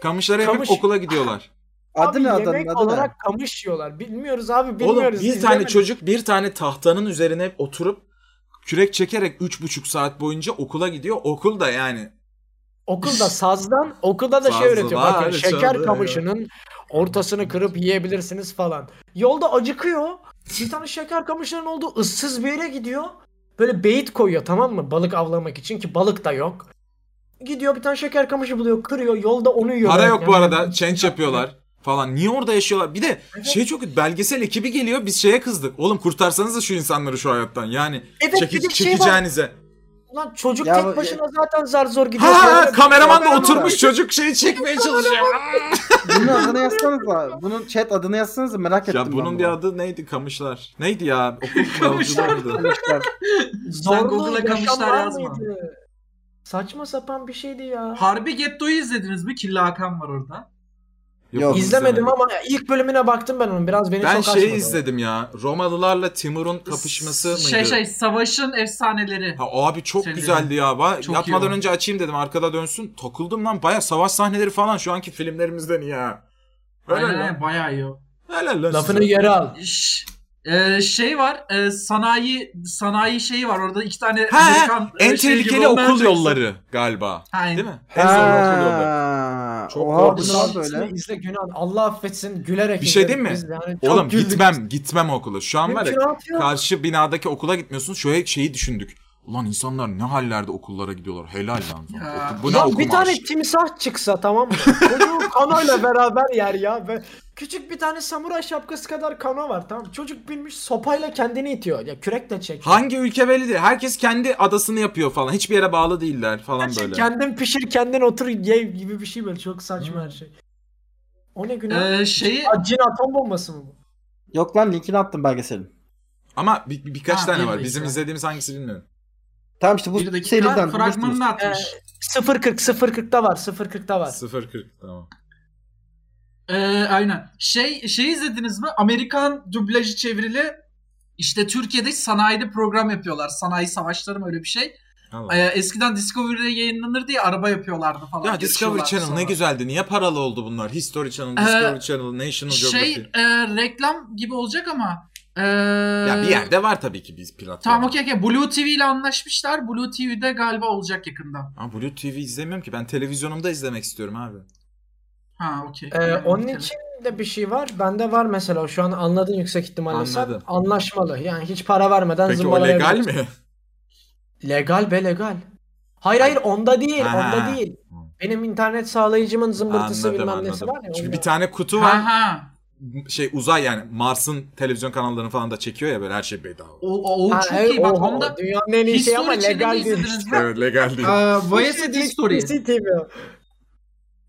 Kamışları Kamış- emip okula gidiyorlar. Adı abi ne adamın yemek adı olarak ne? kamış yiyorlar. Bilmiyoruz abi Oğlum bir bilmiyoruz. tane izlemedik. çocuk bir tane tahtanın üzerine oturup kürek çekerek 3,5 saat boyunca okula gidiyor. Okul da yani. Okulda sazdan okulda da şey Sazlar öğretiyor. Bakın şeker çalıyor. kamışının ortasını kırıp yiyebilirsiniz falan. Yolda acıkıyor. Bir tane şeker kamışının olduğu ıssız bir yere gidiyor. Böyle beyit koyuyor tamam mı? Balık avlamak için ki balık da yok. Gidiyor bir tane şeker kamışı buluyor, kırıyor. Yolda onu yiyor. Para Yani yok bu arada. Change yapıyorlar falan. Niye orada yaşıyorlar? Bir de şey çok kötü. Belgesel ekibi geliyor. Biz şeye kızdık. Oğlum kurtarsanız da şu insanları şu hayattan. Yani Evet, çeki- bir de şey var. çekeceğinize. Lan çocuk Ya bu- tek başına zaten zar zor gidiyor. Ha Sonra- kameraman da kameraman oturmuş çocuk şeyi çekmeye çalışıyor. Bunun adını yazsanıza. Bunun chat adını yazsanıza merak ettim. ya bunun ben bir bunu. adı neydi? Kamışlar. Neydi ya? Okul Kamışlar. yolcularıydı. Arkadaşlar, Sen Zorlu Google'a yaşam kamışlar var yazma. mıydı? Saçma sapan bir şeydi ya. Harbi Getto'yu izlediniz mi? Killa Hakan var orada. Yok, İzlemedim ama ilk bölümüne baktım ben onun. Biraz beni Ben çok şeyi açmadı. izledim ya. Romalılarla Timur'un kapışması mıydı? Şey şey savaşın efsaneleri. Ha abi çok Senin güzeldi ya. Va- Çok iyi yatmadan o. önce açayım dedim arkada dönsün. Takıldım lan baya savaş sahneleri falan şu anki filmlerimizden iyi ha. Helal Aynen, lan. aynen, bayağı iyi o. Helal lan. Lafını size. geri al. Ş- e, şey var e, sanayi sanayi şeyi var orada iki tane Ha, ha, Amerikan e, En şey gibi tehlikeli onlar okul çeksin. yolları galiba. Aynen. Değil mi? En zorlu okul yolları. Ha, Çok Oha bu korkunç. ne Bunlar lan böyle. böyle? İzle Günan. Allah affetsin gülerek. Bir şey izledik değil mi? biz yani. Çok Oğlum güldük. gitmem, gitmem okula. Şu an var ya Mümkünatı yok. karşı binadaki okula gitmiyorsun. Şöyle şeyi düşündük. Ulan insanlar ne hallerde okullara gidiyorlar. Helal lan. Ya. Bu ne Lan okuma bir tane aşkı? timsah çıksa tamam mı? Çocuğu kanayla beraber yer ya. Ve küçük bir tane samuray şapkası kadar kana var tamam mı? Çocuk binmiş sopayla kendini itiyor. Ya kürekle çek. Hangi ülke belli değil. Herkes kendi adasını yapıyor falan. Hiçbir yere bağlı değiller falan şey Gerçi böyle. Kendin pişir kendin otur ye gibi bir şey böyle çok saçma her şey. O ne günah? E, şeyi Aa, Cin atom bombası mı bu? Yok lan linkini attım belgeselin. Ama bir- bir- birkaç Ha, tane bir var. de Bizim işte. izlediğimiz hangisi bilmiyorum. Tamam işte bu bir dakika seriden. fragmanını bulursunuz. atmış. 040 040'da var 040'da var. 0.40 tamam. E, aynen. Şey şey izlediniz mi? Amerikan dublajı çevrili işte Türkiye'de sanayide program yapıyorlar. Sanayi savaşları mı öyle bir şey. Allah. E, eskiden Discovery'de yayınlanır diye araba yapıyorlardı falan. Ya Discovery Yarışıyorlardı Channel ne sonra. güzeldi. Niye paralı oldu bunlar? History Channel, Ee, Discovery Channel, National Şey Geographic. e, reklam gibi olacak ama. e, Ya bir yerde var tabii ki biz platform. Tamam okey okey. Blue TV ile anlaşmışlar. Blue TV'de galiba olacak yakında. Ama Blue TV izlemiyorum ki. Ben televizyonumda izlemek istiyorum abi. Ha okey. Ee, onun için de bir şey var. Bende var mesela şu an anladın yüksek ihtimalle sen. Anladım. Anlaşmalı. Yani hiç para vermeden Peki o zımbalayabilirsin. legal mi? Legal be legal. Hayır hayır onda değil, Ha, ha. onda değil. Benim internet sağlayıcımın zımbırtısı Anladım bilmem nesi anladım. var ya. Çünkü onda. bir tane kutu var. Ha ha. Şey uzay yani Mars'ın televizyon kanallarını falan da çekiyor ya böyle her şey bedava. O, o, o Ha, çok evet, iyi. Bak oho, onda dünyanın en iyi şeyi ama History Channel'ı legal şey. değil. şey izlediniz mi? Evet legal değil. Viacet History. TV.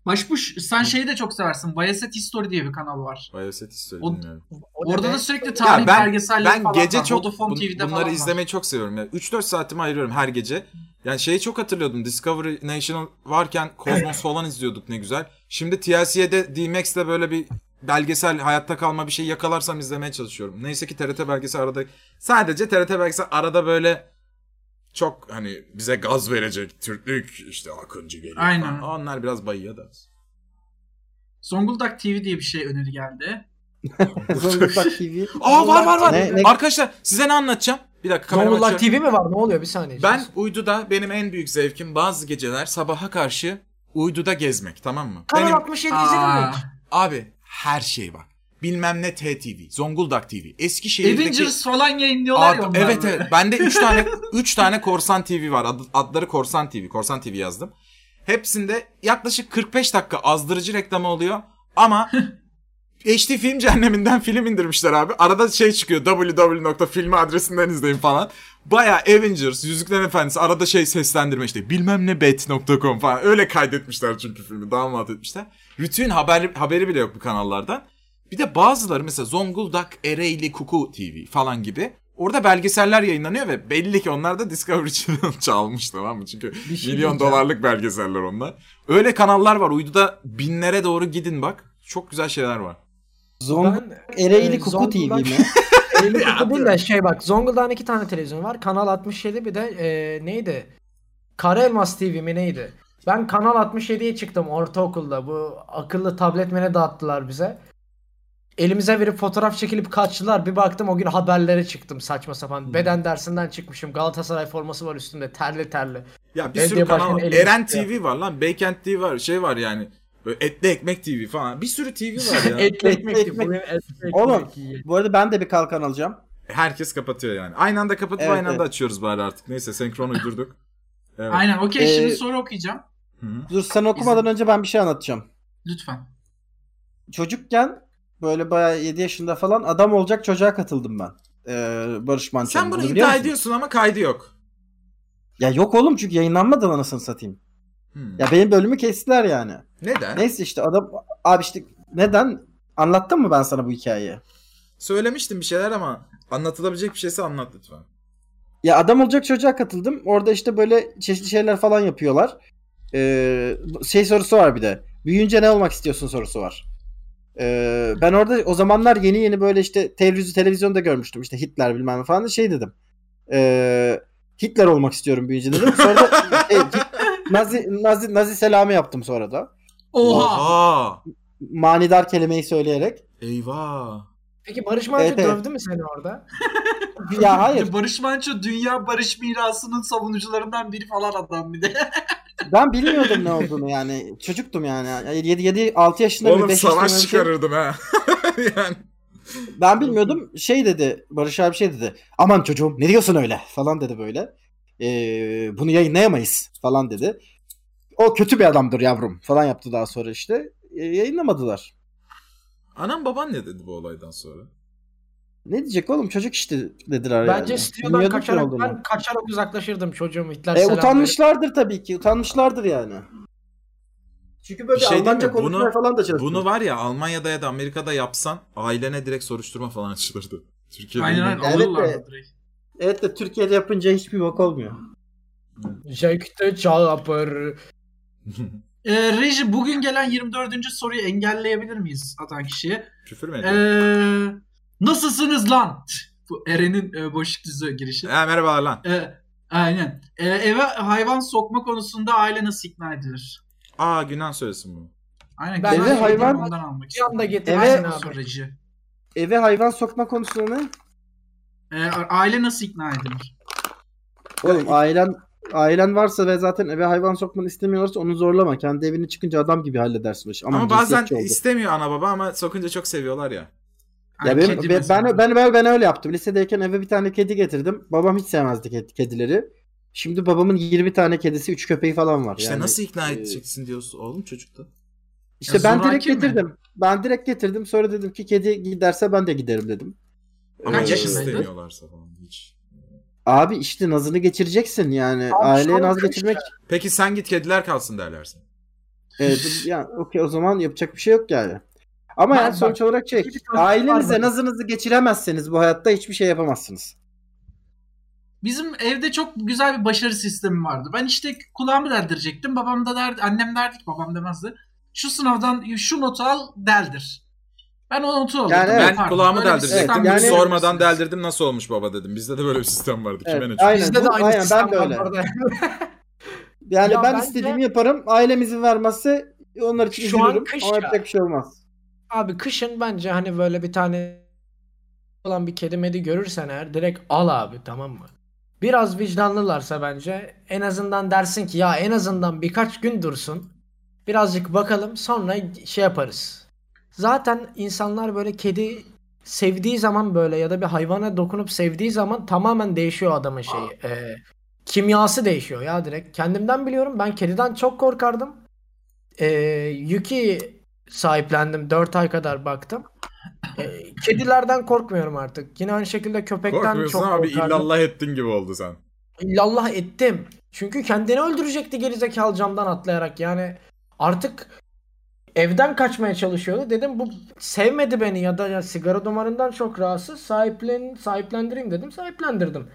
Maşbuş sen şeyi de çok seversin. Viacet History diye bir kanal var. Biyoset istiyor O- bilmiyorum. O Orada ne be? da sürekli tarih ben- belgeselleri Ben falan gece var. çok Vodafone bun- TV'de falan bunları var. izlemeyi çok seviyorum. Yani 3-4 saatimi ayırıyorum her gece. Yani şeyi çok hatırlıyordum. Discovery National varken Cosmos falan izliyorduk ne güzel. Şimdi TLC'de D-Max'le böyle bir belgesel hayatta kalma bir şey yakalarsam izlemeye çalışıyorum. Neyse ki TRT belgesi arada sadece TRT belgesi arada böyle çok hani bize gaz verecek Türklük işte Akıncı geliyor. falan. Aynen. Onlar biraz bayıya da. Zonguldak TV diye bir şey öneri geldi. Zonguldak TV. Aa var var var. Ne- ne- Arkadaşlar size ne anlatacağım? Bir dakika kameramı Zonguldak açıyorum. TV mi var? Ne oluyor? Bir saniye. Ben uyduda benim en büyük zevkim bazı geceler sabaha karşı uyduda gezmek tamam mı? Kanal Benim 67 izledin şey mi? Aa, hiç? abi her şey var. Bilmem ne TTV, Zonguldak TV, Eskişehir'deki Avengers falan yayınlıyorlar ya Ad- onlar evet böyle. evet. Bende 3 tane 3 tane Korsan TV var. Ad- adları Korsan TV. Korsan TV yazdım. Hepsinde yaklaşık 45 dakika azdırıcı reklamı oluyor ama HD film cehenneminden film indirmişler abi. Arada şey çıkıyor www.filmi adresinden izleyin falan. Baya Avengers, Yüzüklerin Efendisi arada şey seslendirme işte bilmem ne bet.com falan öyle kaydetmişler çünkü filmi damat etmişler. Rütü'nün haberi, haberi bile yok bu kanallardan. Bir de bazıları mesela Zonguldak, Ereğli, Kuku TV falan gibi orada belgeseller yayınlanıyor ve belli ki onlar da Discovery Channel çalmış tamam mı? Çünkü Bir şey milyon diyeceğim. dolarlık belgeseller onlar. Öyle kanallar var uyduda binlere doğru gidin bak. Çok güzel şeyler var. Zonguldak Ben, Ereğli e, Kuku TV Zonguldak- mi? Ereğli Kuku değil de şey bak Zonguldak'ın iki tane televizyonu var. Kanal 67 bir de e, neydi? Kara Elmas TV mi neydi? Ben Kanal 67'ye çıktım ortaokulda. Bu akıllı tablet mi ne dağıttılar bize. Elimize verip fotoğraf çekilip kaçtılar. Bir baktım o gün haberlere çıktım saçma sapan. Hmm. Beden dersinden çıkmışım. Galatasaray forması var üstümde terli terli. Ya bir Belediye sürü kanal başkanı var. elini şey Eren tutuyor. TV var lan. Beykent TV var. Şey var yani. Böyle etli ekmek TV falan. Bir sürü TV var ya. E, Etli ekmek. ekmek. Bugün etli ekmek Oğlum yiyelim. bu arada ben de bir kalkan alacağım. Herkes kapatıyor yani. Aynı anda kapatıp Evet, aynı anda evet. açıyoruz bari artık. Neyse senkron uydurduk. Evet. Aynen okey Ee, şimdi soru okuyacağım. Hı-hı. Dur sen okumadan önce ben bir şey anlatacağım. Lütfen. Çocukken böyle bayağı 7 yaşında falan adam olacak çocuğa katıldım ben. Ee, Barış Manço'nun. Sen bunu biliyor iddia musun? ediyorsun ama kaydı yok. Ya yok oğlum çünkü yayınlanmadı anasını satayım. Hmm. Ya benim bölümü kestiler yani. Neden? Neyse işte adam abi işte neden anlattım mı ben sana bu hikayeyi? Söylemiştim bir şeyler ama anlatılabilecek bir şeyse anlat lütfen. Ya adam olacak çocuğa katıldım. Orada işte böyle çeşitli şeyler falan yapıyorlar. Ee, şey sorusu var bir de. Büyüyünce ne olmak istiyorsun sorusu var. Ee, ben orada o zamanlar yeni yeni böyle işte televizyon televizyonda görmüştüm işte Hitler bilmem ne falan şey dedim. Ee, Hitler olmak istiyorum büyüyünce dedim. Sonra da şey, Hit- Nazi, Nazi, Nazi selamı yaptım sonra da. Oha. Oha. Manidar kelimeyi söyleyerek. Eyvah. Peki Barış Manço Evet, evet. dövdü mü seni orada? Ya hayır Barış Manço dünya barış mirasının savunucularından biri falan adam bir de. ben bilmiyordum ne olduğunu yani. Çocuktum yani. 7 7 6 yaşında mı, Oğlum beş yaşında mı savaş öyle bir şey- çıkarırdım ha. yani. Ben bilmiyordum. Şey dedi Barış abi şey dedi. Aman çocuğum ne diyorsun öyle falan dedi böyle. "Ee, bunu yayınlayamayız falan dedi. O kötü bir adamdır yavrum falan yaptı daha sonra işte. Ee, yayınlamadılar. Anam baban ne dedi bu olaydan sonra? Ne diyecek oğlum çocuk işte dediler yani. Bence stüdyodan Bilmiyordum ne kaçarak olduğunu. ben kaçarak uzaklaşırdım çocuğum Hitler E, selamı. utanmışlardır tabii ki. Utanmışlardır yani. Çünkü böyle Bir şey diyeyim Almanca mi? Bunu- konuşmaya falan da çalışıyor. Bunu var ya Almanya'da ya da Amerika'da yapsan ailene direkt soruşturma falan açılırdı. Türkiye'de Aynen yine- aynen Evet de- alırlardı direkt. Evet de Türkiye'de yapınca hiçbir bok olmuyor. Jack'te çalapır. Ee, Reji bugün gelen 24. soruyu engelleyebilir miyiz atan kişiye? Küfür mü Ee, ediyor? nasılsınız lan? Bu Eren'in e, boşluk düzü girişi. Ha, merhabalar lan. Ee, aynen. Ee, eve hayvan sokma konusunda aile nasıl ikna edilir? Aa Günan söylesin bunu. Aynen. Ben Ben eve hayvan- hayvan ondan almak Bir anda istiyorum. getir. Eve- Aynen Nasıl abi. Reji? Eve hayvan sokma konusunda ne? Ee, aile nasıl ikna edilir? Oğlum ailen ailen varsa ve zaten eve hayvan sokmanı istemiyorlarsa onu zorlama. Kendi evini çıkınca adam gibi halledersin. o işi. Aman Ama bazen cinsiyetçi oldu. istemiyor ana baba ama sokunca çok seviyorlar ya. ya Yani benim, kedi ben, mesela. ben, ben, ben, ben öyle yaptım. Lisedeyken eve bir tane kedi getirdim. Babam hiç sevmezdi ked- kedileri. Şimdi babamın 20 tane kedisi 3 köpeği falan var. İşte yani, nasıl ikna e, edeceksin diyorsun oğlum çocukta. İşte Ya ben zoraki direkt mi? getirdim. Ben direkt getirdim. Sonra dedim ki kedi giderse ben de giderim dedim. E, Ama Kaç ya yaşındaydın? istemiyorlarsa falan hiç. Abi işte nazını geçireceksin yani. Aileye sonra naz kış geçirmek. Peki sen git kediler kalsın derlersin. Evet, yani Ee, okey o zaman yapacak bir şey yok yani. Ama Ben- yani sonuç olarak şey, bir tanesi var ailenize benim. nazınızı geçiremezseniz bu hayatta hiçbir şey yapamazsınız. Bizim evde çok güzel bir başarı sistemi vardı. Ben işte kulağımı deldirecektim. Babam da derdi, annem derdi ki babam demezdi. Şu sınavdan şu notu al deldir. Ben o notu alırdım. Yani evet. ben kulağımı deldirecektim. sistem yok. Bunu Yani- sormadan deldirdim nasıl olmuş baba dedim. Bizde de böyle bir sistem vardı. Evet, Kime ne aynen. Bizde bu- de aynı aynen, ben sistem de var öyle. orada. Yani Ya ben bence- istediğimi yaparım. Ailem izin vermezse onlar için Şu an üzülürüm. kış Ama ya. yapacak bir şey olmaz. Abi kışın bence hani böyle bir tane olan bir kedi medi görürsen eğer direkt al abi tamam mı? Biraz vicdanlılarsa bence en azından dersin ki ya en azından birkaç gün dursun. Birazcık bakalım sonra şey yaparız. Zaten insanlar böyle kedi sevdiği zaman böyle ya da bir hayvana dokunup sevdiği zaman tamamen değişiyor adamın şeyi. Ee, kimyası değişiyor ya direkt. Kendimden biliyorum ben kediden çok korkardım. Ee, Yuki sahiplendim. 4 ay kadar baktım. Ee, kedilerden korkmuyorum artık. Yine aynı şekilde köpekten Korkmuyorsun çok ama bir korkardım. illallah ettin gibi oldu sen. İllallah ettim. Çünkü kendini öldürecekti gerizekalı camdan atlayarak. Yani artık evden kaçmaya çalışıyordu. Dedim bu sevmedi beni ya da ya sigara dumanından çok rahatsız. Sahiplen, sahiplendireyim dedim. Sahiplendirdim.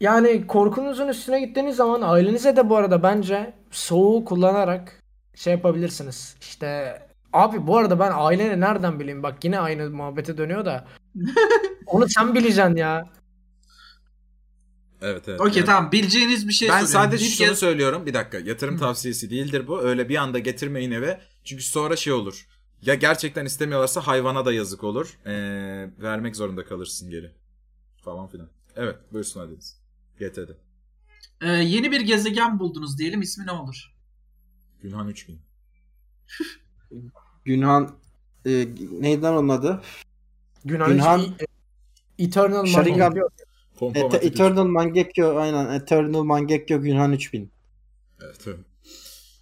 Yani korkunuzun üstüne gittiğiniz zaman ailenize de bu arada bence soğuğu kullanarak şey yapabilirsiniz. İşte abi bu arada ben aileni nereden bileyim? Bak yine aynı muhabbete dönüyor da. Onu sen bileceksin ya. Evet evet. Okey Evet. tamam bileceğiniz bir şey ben soruyorum. sadece Bir şunu kez- söylüyorum. Bir dakika. Yatırım Hı. tavsiyesi değildir bu. Öyle bir anda getirmeyin eve. Çünkü sonra şey olur. Ya gerçekten istemiyorlarsa hayvana da yazık olur. Ee, vermek zorunda kalırsın geri. Falan filan. Evet. Buyursun Adeniz. GT'de. Ee, yeni bir gezegen buldunuz diyelim ismi ne olur? Günhan 3000. Günhan e, neyden onun adı? Günhan, Günhan- E- Eternal Sharingan. Magnum. Pompa E- matik Eternal Mangekyo aynen. Eternal Mangekyo Günhan 3000. üç. Evet, evet.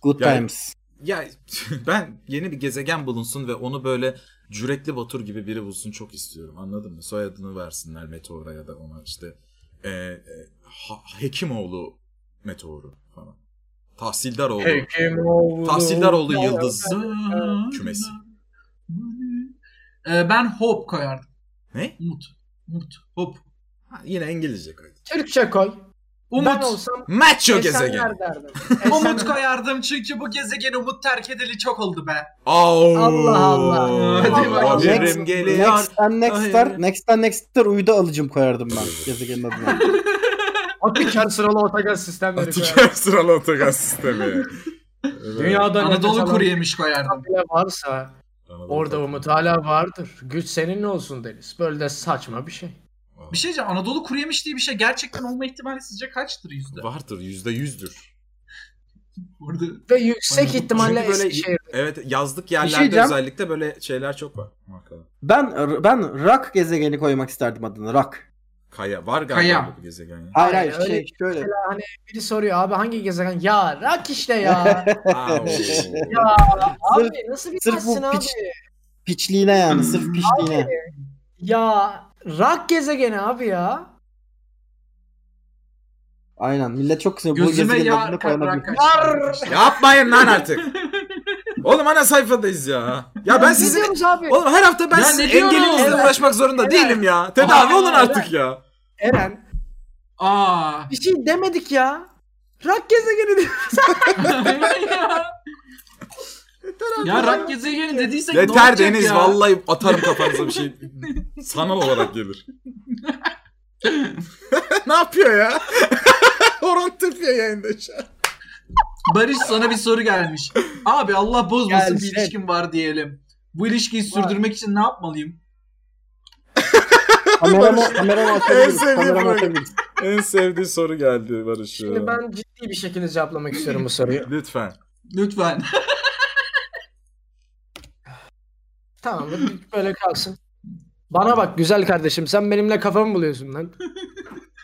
Good Yani- times. Ya ben yeni bir gezegen bulunsun ve onu böyle cürekli Batur gibi biri bulsun çok istiyorum. Anladın mı? Soyadını versinler Meteor'a ya da ona işte e, e, Ha- Hekimoğlu Meteor'u falan. Tahsildaroğlu. Hekimoğlu. Tahsildaroğlu Yıldız kümesi. Ee, ben Hope koyardım. Ne? Umut. Umut. Hope. Ha, yine İngilizce koydum. Türkçe koy. Umut, Ben olsam Macho gezegen. Esenler derdim. Umut Esenler- koyardım çünkü bu gezegeni Umut terk edeli çok oldu be. Au. Allah Allah. Hadi bakalım. Haberim geliyor. Next'ten Ay. Next'ler, Next'ten Next'ler uydu alıcım koyardım ben gezegenin adına. Atiker sıralı otogaz sistemleri koyarım. Atiker sıralı otogaz sistemi. Evet. Dünyada ne Anadolu tasalan- kuru yemiş koyardım. bile varsa Anadolu orada Kuru- umut hala vardır. Güç seninle olsun Deniz. Böyle de saçma bir şey. Bir şey diyeceğim. Anadolu kuru yemiş diye bir şey gerçekten olma ihtimali sizce kaçtır yüzde? Vardır yüzde yüzdür. Burada Ve yüksek Çünkü ihtimalle böyle- Eskişehir. Evet yazlık şey yerlerde diyeceğim. özellikle böyle şeyler çok var. Hakikaten. Ben ben Rak gezegeni koymak isterdim adını. Rak. Kaya var galiba Kaya. bu gezegen. ya. Hayır Hayır, hayır şey öyle- şöyle. Biri soruyor abi hangi gezegen? Ya rak işte ya. Au. ya Sırf- abi nasıl sırf bu bilmezsin abi? piç- Piçliğine yani sırf piçliğine. Ya rak gezegeni abi ya. Aynen millet çok kısmı bu gözüme gezegenin ya adını koyana kavrak bir- kaçtı. Yapmayın lan artık. Oğlum ana sayfadayız ya. Ya ben Ne sizin diyoruz abi? Oğlum her hafta ben Ya sizin ne diyorsun? engelinizle Evet. uğraşmak zorunda Evet. değilim ya. Tedavi Aa, olun evet. artık ya. Eren Aa. bir şey demedik ya. Rak gezegeni diyor. ya. ya rak gezegeni dediysek ne Yeter olacak Deniz ya? vallahi atarım kafanıza bir şey. Sanal olarak gelir. ne yapıyor ya? Horon tırpıyor yayında şu an. Barış sana bir soru gelmiş. Abi Allah bozmasın Gelsin. bir ilişkim var diyelim. Bu ilişkiyi sürdürmek için ne yapmalıyım? Kameramı kameramı En atabiliriz. sevdiğim Kameramı bölüm. atabiliriz. En sevdiği soru geldi Barış. Şimdi ben ciddi bir şekilde cevaplamak istiyorum bu soruyu. Lütfen. Lütfen. tamam böyle kalsın. Bana bak güzel kardeşim sen benimle kafamı buluyorsun lan.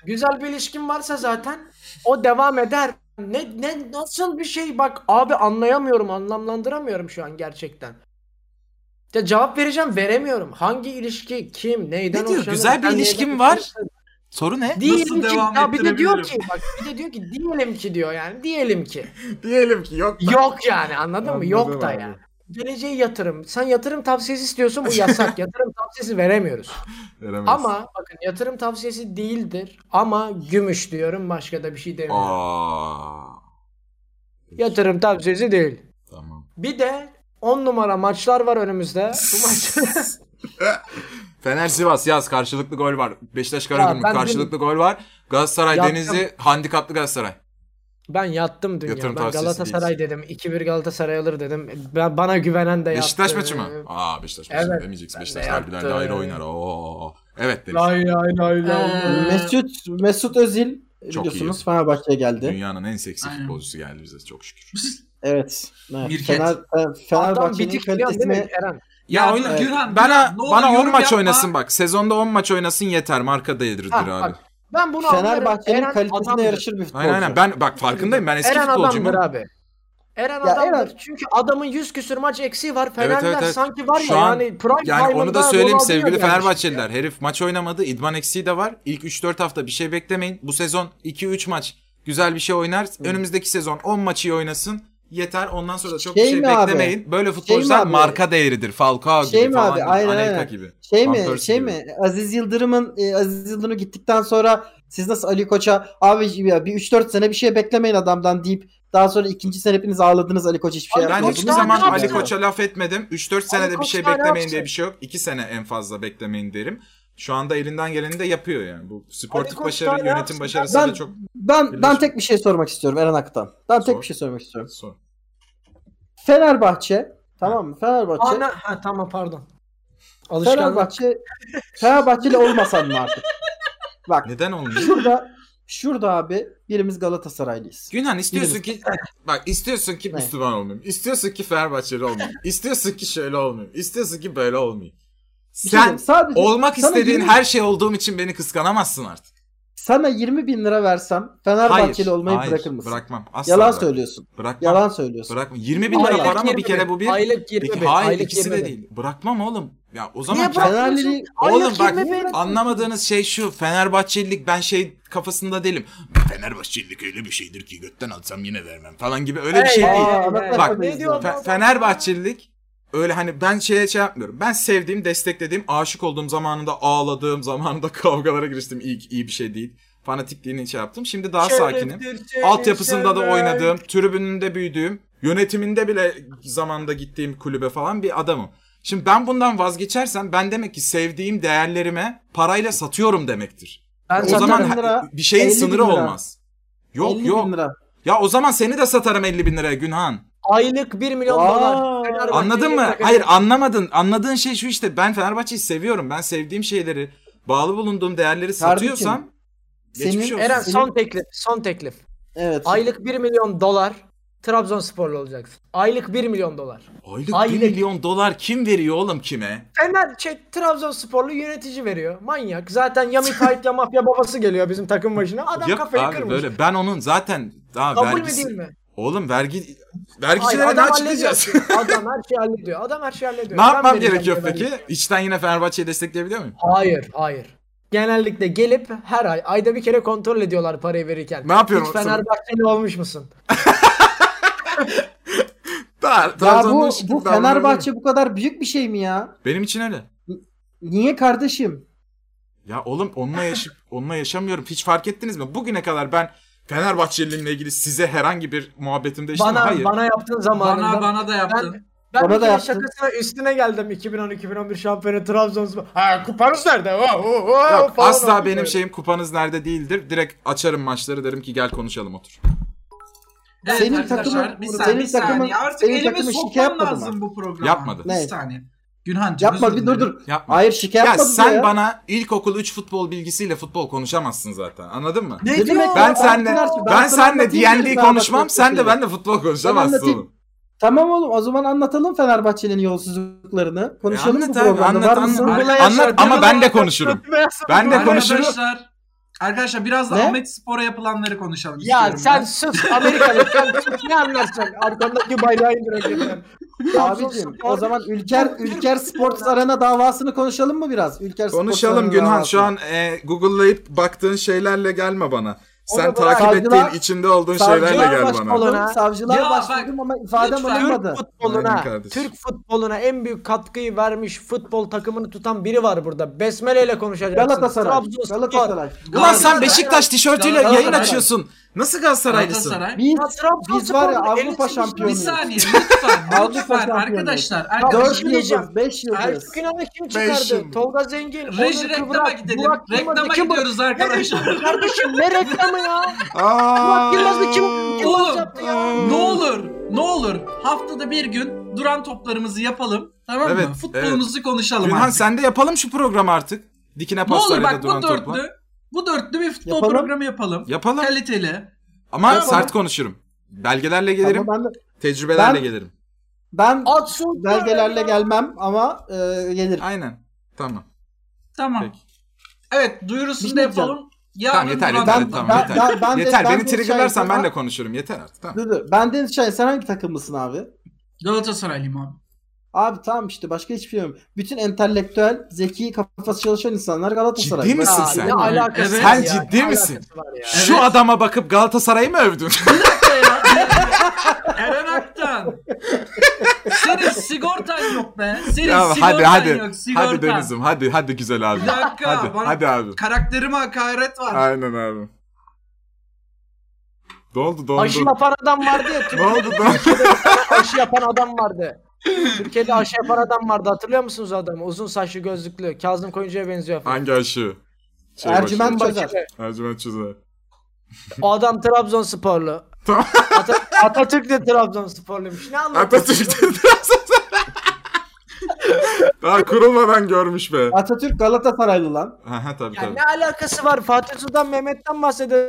güzel bir ilişkin varsa zaten o devam eder. Ne ne nasıl bir şey bak abi anlayamıyorum anlamlandıramıyorum şu an gerçekten. Ya cevap vereceğim veremiyorum. Hangi ilişki kim neyden Ne diyor? hoşlanır, Güzel bir sen neyden ilişkin var. hoşlanırsın? Soru ne? Diyelim Nasıl ki devam ya bir de diyor ki ettirebilirim? bak bir de diyor ki diyelim ki diyor yani diyelim ki. Diyelim ki yok. Yok yani anladın mı? Anladım Yok da abi. yani. Geleceği yatırım. Sen yatırım tavsiyesi istiyorsun bu yasak. yatırım tavsiyesi veremiyoruz. Veremez. Ama bakın yatırım tavsiyesi değildir ama gümüş diyorum başka da bir şey demiyorum. Aa. Yatırım tavsiyesi değil. Tamam. Bir de 10 numara maçlar var önümüzde. Bu maç Fener Sivas yaz karşılıklı gol var. Beşiktaş Karagümrük ben karşılıklı gol var. Galatasaray Yaptım. Denizli handikaplı Galatasaray. ben yattım dünya. Yatırım ben tavsiyesi Galatasaray dedim. 2-1 Galatasaray alır dedim. Ben, bana güvenen de yattı. Beşiktaş maçı mı? Aa Beşiktaş maçı Evet. demeyeceksin. Ben de Beşiktaş derbilerde yaptım. ayrı oynar. Oo. Evet Deniz. Lay lay lay lay. Ee, Mesut Mesut Özil Çok biliyorsunuz iyi. Fenerbahçe'ye geldi. Dünyanın en seksi Aynen. futbolcusu geldi bize çok şükür. Evet. evet. Mirket. Fener, Fe- Adam Ee, Fenerbahçe'nin bitik biliyorsun değil mi kalitesini Eren? ya, Ya e, oyna evet. Gürhan. Bana Gürhan, ne olur bana 10 yorum maç yapma. oynasın bak. Sezonda 10 maç oynasın yeter. Marka değdirdir Ha, abi. bak, Ben bunu anlarım. Fenerbahçe'nin Eren kalitesine adamdır. yarışır bir futbolcu. Aynen aynen. Ben bak farkındayım. Ben eski Eren futbolcuyum. adamdır ama- abi. Eren Ya adamdır. Eren- Çünkü adamın 100 küsür maç eksiği var. Fenerler evet, evet. sanki var Şu ya an- yani prime Yani onu time'ında da söyleyeyim Ronaldinho sevgili gelmiş. Fenerbahçeliler. Herif maç oynamadı. İdman eksiği de var. İlk 3-4 hafta bir şey beklemeyin. Bu sezon 2-3 maç güzel bir şey oynar. Önümüzdeki sezon 10 maçı iyi oynasın. Yeter. Ondan sonra da çok Şey bir şey mi abi? beklemeyin. Böyle futbolcular abi? marka değeridir. Falcao Şey gibi mi falan abi? gibi. Aynen, Anelka aynen. gibi. Şey Van mi? Persie Şey gibi. mi? Aziz Yıldırım'ın e, Aziz Yıldırım gittikten sonra siz nasıl Ali Koç'a abi ya bir 3-4 sene bir şey beklemeyin adamdan deyip daha sonra ikinci sene hepiniz ağladınız Ali Koç hiçbir şey Abi Ben Koç hiçbir daha ne zaman Ali yapsın? Koç'a laf etmedim. 3-4 senede bir Koç şey daha ne beklemeyin yapsın? diye bir şey yok. 2 sene en fazla beklemeyin derim. Şu anda elinden geleni de yapıyor yani. Bu sportif Koç başarı, daha ne yönetim yapsın? başarısı Ben- da çok Ben ben Biliyorsun. tek bir şey sormak istiyorum Eren Ak'tan. Ben tek Sor. bir şey sormak istiyorum. zor. Fenerbahçe tamam mı? Fenerbahçe. Ana, ha, tamam pardon. Alışkanlık. Fenerbahçe Fenerbahçeli olmasan mı artık? Bak Neden olmuyor? şurada şurada abi birimiz Galatasaraylıyız. Günhan istiyorsun ki Biliriz. bak istiyorsun ki Ne? Müslüman olmayayım. İstiyorsun ki Fenerbahçeli olmayayım. istiyorsun ki şöyle olmayayım. İstiyorsun ki böyle olmayayım. Bir şey Sen diyeyim, sadece olmak sana istediğin 20 her şey olduğum için beni kıskanamazsın artık. sana 20 bin lira versem Fenerbahçeli olmayı hayır, bırakır mısın? Bırakmam. Asla Yalan bırakmam. söylüyorsun. Bırakmam. Yalan söylüyorsun. Bırakmam. 20 bin lira Aylık var ama bir 20 kere bu bir. Aylık 20 İki- bin, hayır aylık ikisi 20 de bin. değil. Bırakmam oğlum. Ya o zaman Niye kendi- bırak- Fenerli Aylık Oğlum bak 20 bin. anlamadığınız şey şu Fenerbahçelilik ben şey kafasında değilim. Fenerbahçelilik öyle bir şeydir ki götten alsam yine vermem falan gibi öyle bir şey Ey, değil. ey, Bak, ey. bak, Ne diyor Fe- Fe- adam? Fenerbahçelilik öyle hani ben şeye şey yapmıyorum. Ben sevdiğim, desteklediğim, aşık olduğum zamanında ağladığım, zamanında kavgalara giriştim. İyi, iyi bir şey değil. fanatikliğini şey yaptım. Şimdi daha sakinim. Altyapısında da oynadığım, tribününde büyüdüğüm, yönetiminde bile zamanda gittiğim kulübe falan bir adamım. Şimdi ben bundan vazgeçersem ben demek ki sevdiğim değerlerime parayla satıyorum demektir. Ben O Satarım zaman ha- lira, bir şeyin 50 bin sınırı lira. olmaz. Yok 50 yok. bin lira. Ya o zaman seni de satarım 50 bin liraya Günhan. aylık 1 milyon Aa. dolar. Fenerbahçe'ye Anladın mı? takacak. Hayır anlamadın. Anladığın şey şu işte ben Fenerbahçe'yi seviyorum. Ben sevdiğim şeyleri, bağlı bulunduğum değerleri Kardeşim, satıyorsam geçmiş senin- olsun. Eren Senin- son teklif, son teklif. Evet. Aylık 1 milyon dolar Trabzonsporlu olacaksın. Aylık 1 milyon dolar. Aylık, Aylık. 1 milyon dolar kim veriyor oğlum kime? Fener şey, Trabzonsporlu yönetici veriyor. Manyak. Zaten Yami Kayıt ya mafya babası geliyor bizim takım başına. Adam Yok kafayı abi kırmış. böyle ben onun zaten daha Kabul mü vergisi. değil mi? Oğlum vergi Hayır, vergicilere ne adam açıklayacağız? hallediyor. adam her şeyi hallediyor. Adam her şeyi hallediyor. ne Ben yapmam vereceğim gerekiyor diye peki? vermiyor. İçten yine Fenerbahçe'yi destekleyebiliyor muyum? Hayır, hayır. Genellikle gelip her ay, ayda bir kere kontrol ediyorlar parayı verirken. Ne yapıyorum Hiç o zaman? Fenerbahçeli olmuş musun? Daha, ya Trabzon'da bu, eşitlik bu davranıyorum. Fenerbahçe bu kadar büyük bir şey mi ya? Benim için öyle. Niye kardeşim? Ya oğlum onunla, yaşıp, onunla yaşamıyorum. Hiç fark ettiniz mi? Bugüne kadar ben Fenerbahçeliliğimle ilgili size herhangi bir muhabbetimde işte Bana hayır. bana yaptığın zamanında. Bana bana da yaptın. Ben Bana bir da kere yaptın. şakasına üstüne geldim 2010-2011 şampiyonu Trabzonspor. Ha kupanız nerede? Oh, oh, oh, Yok, falan asla oldu benim böyle. şeyim kupanız nerede değildir. Direkt açarım maçları derim ki gel konuşalım otur. Evet Senin arkadaşlar, takımın- bir senin saniye, bir takımın- saniye. Artık senin elime takımın şike sokmam yapmadı lazım bu programı. Yapmadı. Bir Ne? saniye. Günhan'cığım Yapma özür bir dur dilerim. dur. Yapma. Hayır şike ya yapma bize sen ya. bana ilkokul 3 futbol bilgisiyle futbol konuşamazsın zaten. Anladın mı? Ne diyor? demek Ben ya? senle Anlattılar ki, ben ben sana senle anlatayım D&D dedim konuşmam. Fenerbahçe Sen de şeyi. benle futbol konuşamazsın. anlatayım. oğlum. Tamam oğlum o zaman anlatalım Fenerbahçe'nin yolsuzluklarını. Konuşalım E, anlat bu abi, programda. anlat, Var mısın? anlat. Google'a Anlat yaşar, ama Google'a ben de yaşar, konuşurum. suratıma yaşar, Ben de Google'a konuşurum. yaşar. Arkadaşlar, arkadaşlar biraz da Ne? Ahmet Spor'a yapılanları konuşalım Ya istiyorum sen ben. sus Amerikalı sen sus ne anlarsın arkandaki bayrağı indirecekler. Abicim o zaman Ülker Ülker Sports Arena davasını konuşalım mı biraz? Ülker Sports Konuşalım Arena Günhan. davası. Şu an e, Google'layıp baktığın şeylerle gelme bana. Sen Onu bırak. takip Savcılar- ettiğin içinde olduğun Savcılar şeylerle gel bana. başladım, bana. Savcılar Ya bak, başladım ama ifadem lütfen. alınmadı. Türk Aynen futboluna, kardeşim. Türk futboluna en büyük katkıyı vermiş futbol takımını tutan biri var burada. Besmele ile konuşacaksın. Galatasaray. Trabzonspor, Galatasaray. Ulan sen Galatasaray- Beşiktaş tişörtüyle Galatasaray- yayın açıyorsun. Nasıl Galatasaraylısın? Galatasaray. Biz, Trabzonspor'un biz var ya Avrupa elitsin. Bir şampiyonuyuz. saniye lütfen Avrupa lütfen şampiyonu. arkadaşlar. şey arkadaşlar. 4 Dört yıldız, 5 yıldız. Ertuğrul İnan'ı kim Beş çıkardı? yıl. Tolga Zengin, Reji Onur reklama Kıvrak, gidelim. Burak Yılmaz'ı reklama kim bu- gidiyoruz arkadaşlar. Kardeşim ne reklamı ya? Burak Yılmaz'ı kim kim Oğlum, olacaktı ya? ne olur, ne olur haftada bir gün duran toplarımızı yapalım. Tamam mı? Evet, Futbolumuzu konuşalım Günhan artık. sen de yapalım şu programı artık. Dikine Ne olur pastanede bak duran bu dörtlü, topla. bu dörtlü bir futbol Yapalım. programı yapalım. Yapalım Kaliteli. ama Yapalım. sert konuşurum. Belgelerle Ama gelirim, ben, de- tecrübelerle Ben- gelirim. ben At şu belgelerle gelmem ama e, gelirim. Aynen. Tamam. Tamam. Peki. Evet duyurusunu Bir da şey yapalım. Yarın Tamam yeter duran yeter Ben- yeter, tamam ben- yeter. ben- ben de- yeter ben beni de triggerlersen şahidim. ben de konuşurum yeter artık tamam. Dur dur. Ben Deniz Şahin sen hangi takımlısın abi? Galatasaraylıyım abi. Abi tamam işte başka hiçbir şey yok. Bütün entelektüel, zeki, kafası çalışan insanlar Galatasaray. Ciddi misin Ya, sen? ne Ne ala- alakası Evet. var Sen ya? ciddi Ne misin? alakası var ya? Şu Evet. adama bakıp Galatasaray'ı mı övdün? Eren Aktan. Senin sigortan yok be. Senin Ya sigortan hadi hadi. yok. Sigortan. Hadi Deniz'im hadi hadi güzel abi. Bir dakika, Hadi bana- hadi abi. Karakterime hakaret var. Aynen abi. Doldu Aşı doldu. yapan adam vardı ya. Ne oldu Türkiye'de doldu? aşı yapan adam vardı. Türkiye'de aşı yapan adam vardı. Hatırlıyor musunuz o adamı? Uzun saçlı gözlüklü. Kazım Koyuncu'ya benziyor falan. Hangi aşı? Şey Ercüment başı. Çözer. Ercüment Çözer. O adam Trabzonsporlu. Tamam. At- Atatürk de Trabzonsporluymuş. Ne anlatıyorsun? Atatürk'ten Trabzonspor. Daha kurulmadan görmüş be. Atatürk Galatasaraylı lan. Aha tabii Ya tabii. ne alakası var? Fatih Sultan Mehmet'ten bahsediyor.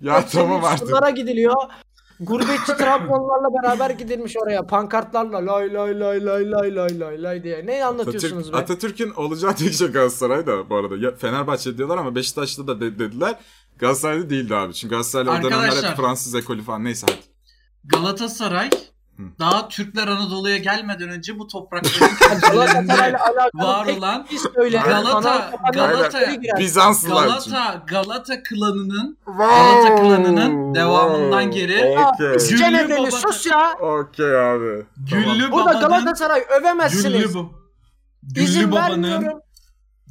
Ya tamam artık. Şunlara gidiliyor. Gurbetçi Trabzonlarla beraber gidilmiş oraya. Pankartlarla lay lay lay lay lay lay lay lay diye. Ne anlatıyorsunuz Atatürk, be? Atatürk'ün olacağı tek şey Galatasaray da bu arada. Ya, Fenerbahçe diyorlar ama Beşiktaş'ta da de- dediler. Galatasaray'da değildi abi. Çünkü Galatasaray'da o dönemler Arkadaşlar. hep Fransız ekolü falan. Neyse hadi. Galatasaray Hı. daha Türkler Anadolu'ya gelmeden önce bu toprakların köklerinde Galatasaray'la alakalı var tek olan bir söyle. Galata- Anadolu kapanıyor, Galata- içeri girer. Bizanslılar için. Galata Galata klanının Wow, klanının devamından geri- Okey. Güllü Gene beni Baba'da- sus ya. Okey abi. Güllü Burada babanın Galatasaray övemezsiniz. Güllü, bu- Güllü İzin babanın vermiyorum.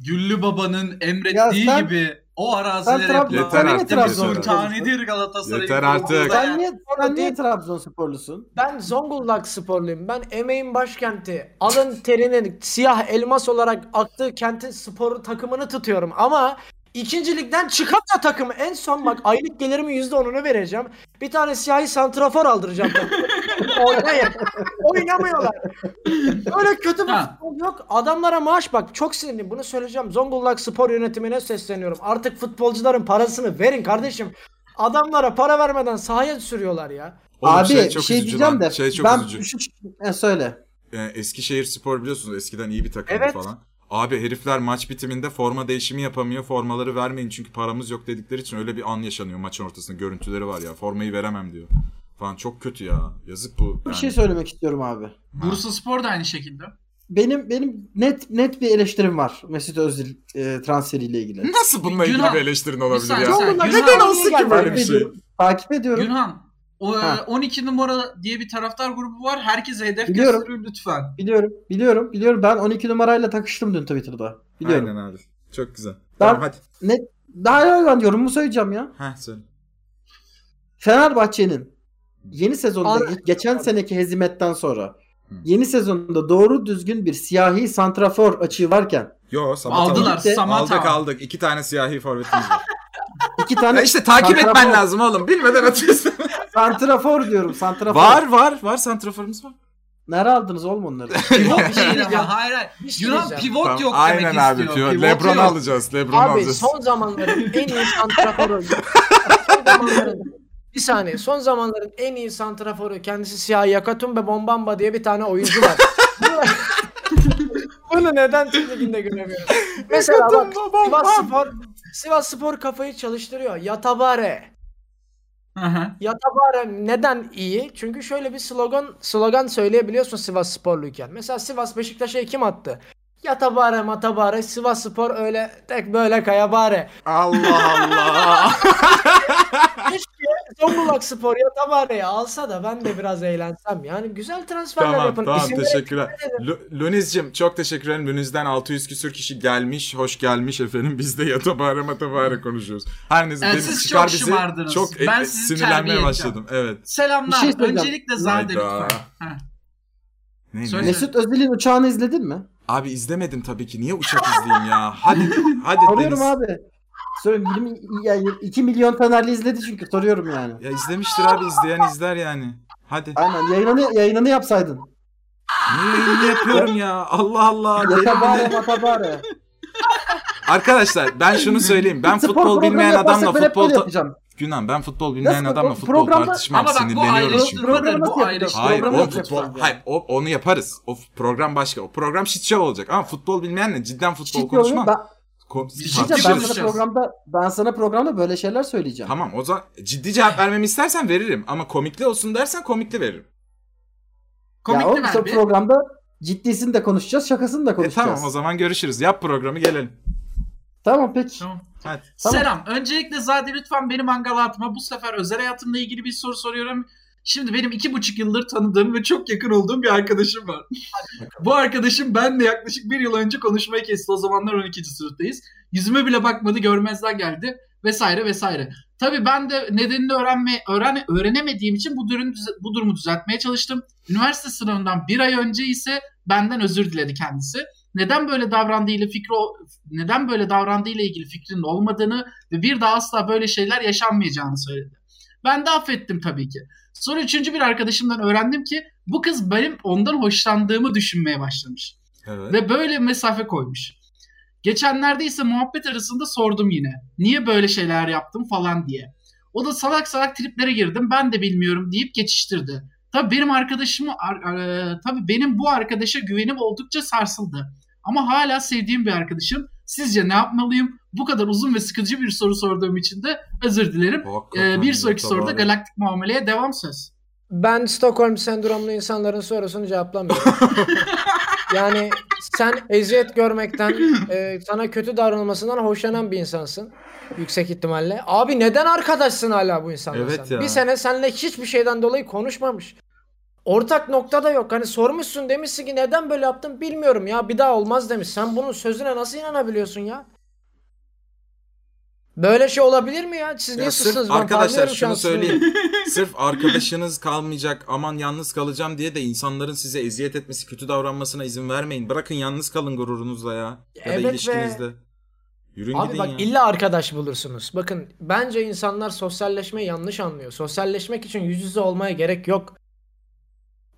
Güllü babanın Ya emrettiği sen- gibi O Sen arazilere Trabzon. Yeter sen niye artık, Trabzon'u yeter. konuşuyorsun? tanedir Galatasaray. Yeter artık. Sen niye, sen niye Trabzonsporlusun? Ben Zonguldak sporluyum. Ben emeğin başkenti. Alın terinin siyah elmas olarak aktığı kentin sporu takımını tutuyorum ama ikincilikten çıkan da takım en son bak aylık gelirimin %10'unu vereceğim. Bir tane siyahi santrafor aldıracağım. takıma. Oynayın. Oynamıyorlar. Böyle kötü bir Ha. futbol yok. Adamlara maaş bak çok sinirliyim. Bunu söyleyeceğim. Zonguldak spor yönetimine sesleniyorum. Artık futbolcuların parasını verin kardeşim. Adamlara para vermeden sahaya sürüyorlar ya. Oğlum Abi şey bir çok şey üzücü diyeceğim lan. de Şey çok ben üzücü. şu, şu- Ha, söyle. Ee, Eskişehir Spor biliyorsunuz eskiden iyi bir takımdı Evet. falan. Abi herifler maç bitiminde forma değişimi yapamıyor. Formaları vermeyin çünkü paramız yok dedikleri için öyle bir an yaşanıyor maçın ortasında. Görüntüleri var ya. Formayı veremem diyor. Falan çok kötü ya. Yazık bu. Bir yani. şey söylemek istiyorum abi. Bursa Spor da aynı şekilde. Benim benim net net bir eleştirim var Mesut Özil e, transferiyle ilgili. Nasıl bununla ilgili Günah- bir eleştirin olabilir saniye, ya? sen- Neden Günhan olsun niye ki gelmedi? böyle bir şey? ediyorum. Takip ediyorum. Günhan o, e, Ha. 12 numara diye bir taraftar grubu var. Herkes hedef Biliyorum. gösteriyor lütfen. Biliyorum, biliyorum, biliyorum. Ben 12 numarayla takıştım dün Twitter'da. Biliyorum. Aynen abi. Çok güzel. Ben- Tamam hadi. Daha ya ben yorumumu söyleyeceğim ya. Heh, söyle. Fenerbahçe'nin yeni sezonda Ar- ge- geçen seneki hezimetten sonra Hı. yeni sezonda doğru düzgün bir siyahi santrafor açığı varken Yo Samata var. Aldılar Gitti, Samata. Aldık aldık. İki tane siyahi forvetimiz var. iki tane Ya işte takip Hani Santrafor. etmen lazım oğlum. Bilmeden atıyorsun. santrafor diyorum santrafor. var var var santraforumuz var. Nere aldınız oğlum onları? Pivot Bir şey değil diyeceğim. ama hayır hayır. Bir şey Yunan diyeceğim. pivot Tamam, yok demek Aynen istiyor. abi. diyor. Pivot Lebron'u yok. alacağız. Lebron'u Abi alacağız. son zamanların en iyi santraforu. Son zamanların- bir saniye. Son zamanların en iyi santraforu kendisi Siyah Yakatum ve Bombamba diye bir tane oyuncu var. Bunu neden Türk liginde göremiyoruz? Mesela bak Sivas Spor, Sivas Spor kafayı çalıştırıyor. Yatabare. Hı hı. Yatabare neden iyi? Çünkü şöyle bir slogan slogan söyleyebiliyorsun Sivas Sporluyken. Mesela Sivas Beşiktaş'a kim attı? Yatabare matabare Sivas Spor öyle tek böyle kayabare. Allah Allah. Zonguldak Spor Yatabare'yi alsa da ben de biraz eğlensem. Yani güzel transferler tamam yapın. tamam İsimleri- teşekkürler. Lu- Luniz'cim çok teşekkür ederim. Luniz'den 600 küsür kişi gelmiş. Hoş gelmiş efendim. Biz de yatabare matabare konuşuyoruz. Her neyse Evet, Deniz siz çıkar çok bizi. şımardınız. Çok e- Ben e- sizi sinirlenmeye terbiye başladım. Evet. Bir Selamlar. şey söyleyeceğim. Öncelikle Zade Hayda. lütfen. Heh. Ne, ne? Söyle. Mesut Özil'in uçağını izledin mi? Abi izlemedim tabii ki. Niye uçak izleyeyim ya? Hadi hadi Deniz. Soruyorum abi. Soruyorum 20 yani 2 milyon tanerli izledi çünkü soruyorum yani. Ya izlemiştir abi izleyen izler yani. Hadi. Aynen yayınını yayınını yapsaydın. Niye yayını yapıyorum ya? Allah Allah. deli mi Yatabare ne? matabare. Arkadaşlar ben şunu söyleyeyim. Ben Spor futbol programı bilmeyen yaparsak adamla ben hep futbol böyle ta- yapacağım. Günan ben futbol bilmeyen Nasıl? adamla O futbol programda- tartışmam. Ama bak bu Sinirleniyorum çünkü. Pro- ayrıştırmadır. programı Bu şey. nasıl yapacağız? ayrıştırmadır. Hayır programı o yapacak futbol. bence. Hayır o, onu yaparız. O f- program başka. O program shit show olacak. Ama futbol bilmeyenle cidden futbol Ciddi konuşmam. olayım. Ben, Ko- Biz Ciddi tartışırız. ben Konuşacağız. sana programda ben sana programda böyle şeyler söyleyeceğim. Tamam o zaman ciddi cevap vermemi istersen veririm. Ama komikli olsun dersen komikli veririm. E, ya Komikli oğlum sen ver bir. programda ciddisini de konuşacağız, şakasını da E, konuşacağız. tamam o zaman görüşürüz. Yap programı gelelim. Tamam peki. Tamam. Hadi. Tamam. Selam. Öncelikle Zade lütfen beni mangala atma. Bu sefer özel hayatımla ilgili bir soru soruyorum. Şimdi benim iki buçuk yıldır tanıdığım ve çok yakın olduğum bir arkadaşım var. Bu arkadaşım benle yaklaşık bir yıl önce konuşmayı kesti. O zamanlar 12. sınıftayız. Yüzüme bile bakmadı, görmezden geldi vesaire vesaire. Tabii ben de nedenini öğrenme, öğren, öğrenemediğim için bu, durum, bu durumu düzeltmeye çalıştım. Üniversite sınavından bir ay önce ise benden özür diledi kendisi. Neden böyle davrandığıyla fikri o- neden böyle davrandığıyla ilgili fikrinin olmadığını ve bir daha asla böyle şeyler yaşanmayacağını söyledi. Ben de affettim tabii ki. Sonra üçüncü bir arkadaşımdan öğrendim ki bu kız benim ondan hoşlandığımı düşünmeye başlamış. Evet. Ve böyle mesafe koymuş. Geçenlerde ise muhabbet arasında sordum yine. Niye böyle şeyler yaptım falan diye. O da salak salak triplere girdim ben de bilmiyorum deyip geçiştirdi. Tabii benim arkadaşımı ar- ar- tabii benim bu arkadaşa güvenim oldukça sarsıldı. Ama hala sevdiğim bir arkadaşım. Sizce ne yapmalıyım? Bu kadar uzun ve sıkıcı bir soru sorduğum için de özür dilerim. Ee, Hakikaten bir sonraki ya, soruda tabii. galaktik muameleye devam söz. Ben Stockholm sendromlu insanların sorusunu cevaplamıyorum. yani sen eziyet görmekten, e, sana kötü davranılmasından hoşlanan bir insansın. Yüksek ihtimalle. Abi neden arkadaşsın hala bu insanlar? Evet sen? ya. Bir sene seninle hiçbir şeyden dolayı konuşmamış. Ortak nokta da yok. Hani sormuşsun demişsin ki neden böyle yaptım bilmiyorum ya bir daha olmaz demiş. Sen bunun sözüne nasıl inanabiliyorsun ya? Böyle şey olabilir mi ya? Siz niye Ya sırf sustunuz? Ben arkadaşlar parlıyorum şu an şunu sinirden. söyleyeyim. sırf arkadaşınız kalmayacak aman yalnız kalacağım diye de insanların size eziyet etmesi, kötü davranmasına izin vermeyin. Bırakın yalnız kalın gururunuzla ya. Ya Evet da ve- ilişkinizde. Yürün Abi gidin bak ya. illa arkadaş bulursunuz. Bakın bence insanlar sosyalleşmeyi yanlış anlıyor. Sosyalleşmek için yüz yüze olmaya gerek yok.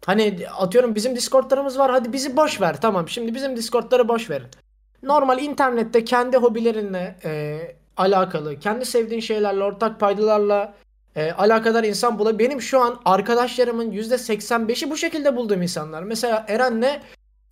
Hani atıyorum bizim Discord'larımız var. Hadi bizi boş ver. Tamam şimdi bizim Discord'ları boş verin. Normal internette kendi hobilerinle e, alakalı, kendi sevdiğin şeylerle, ortak paydalarla e, alakadar insan bula. Benim şu an arkadaşlarımın %85'i bu şekilde bulduğum insanlar. Mesela Eren'le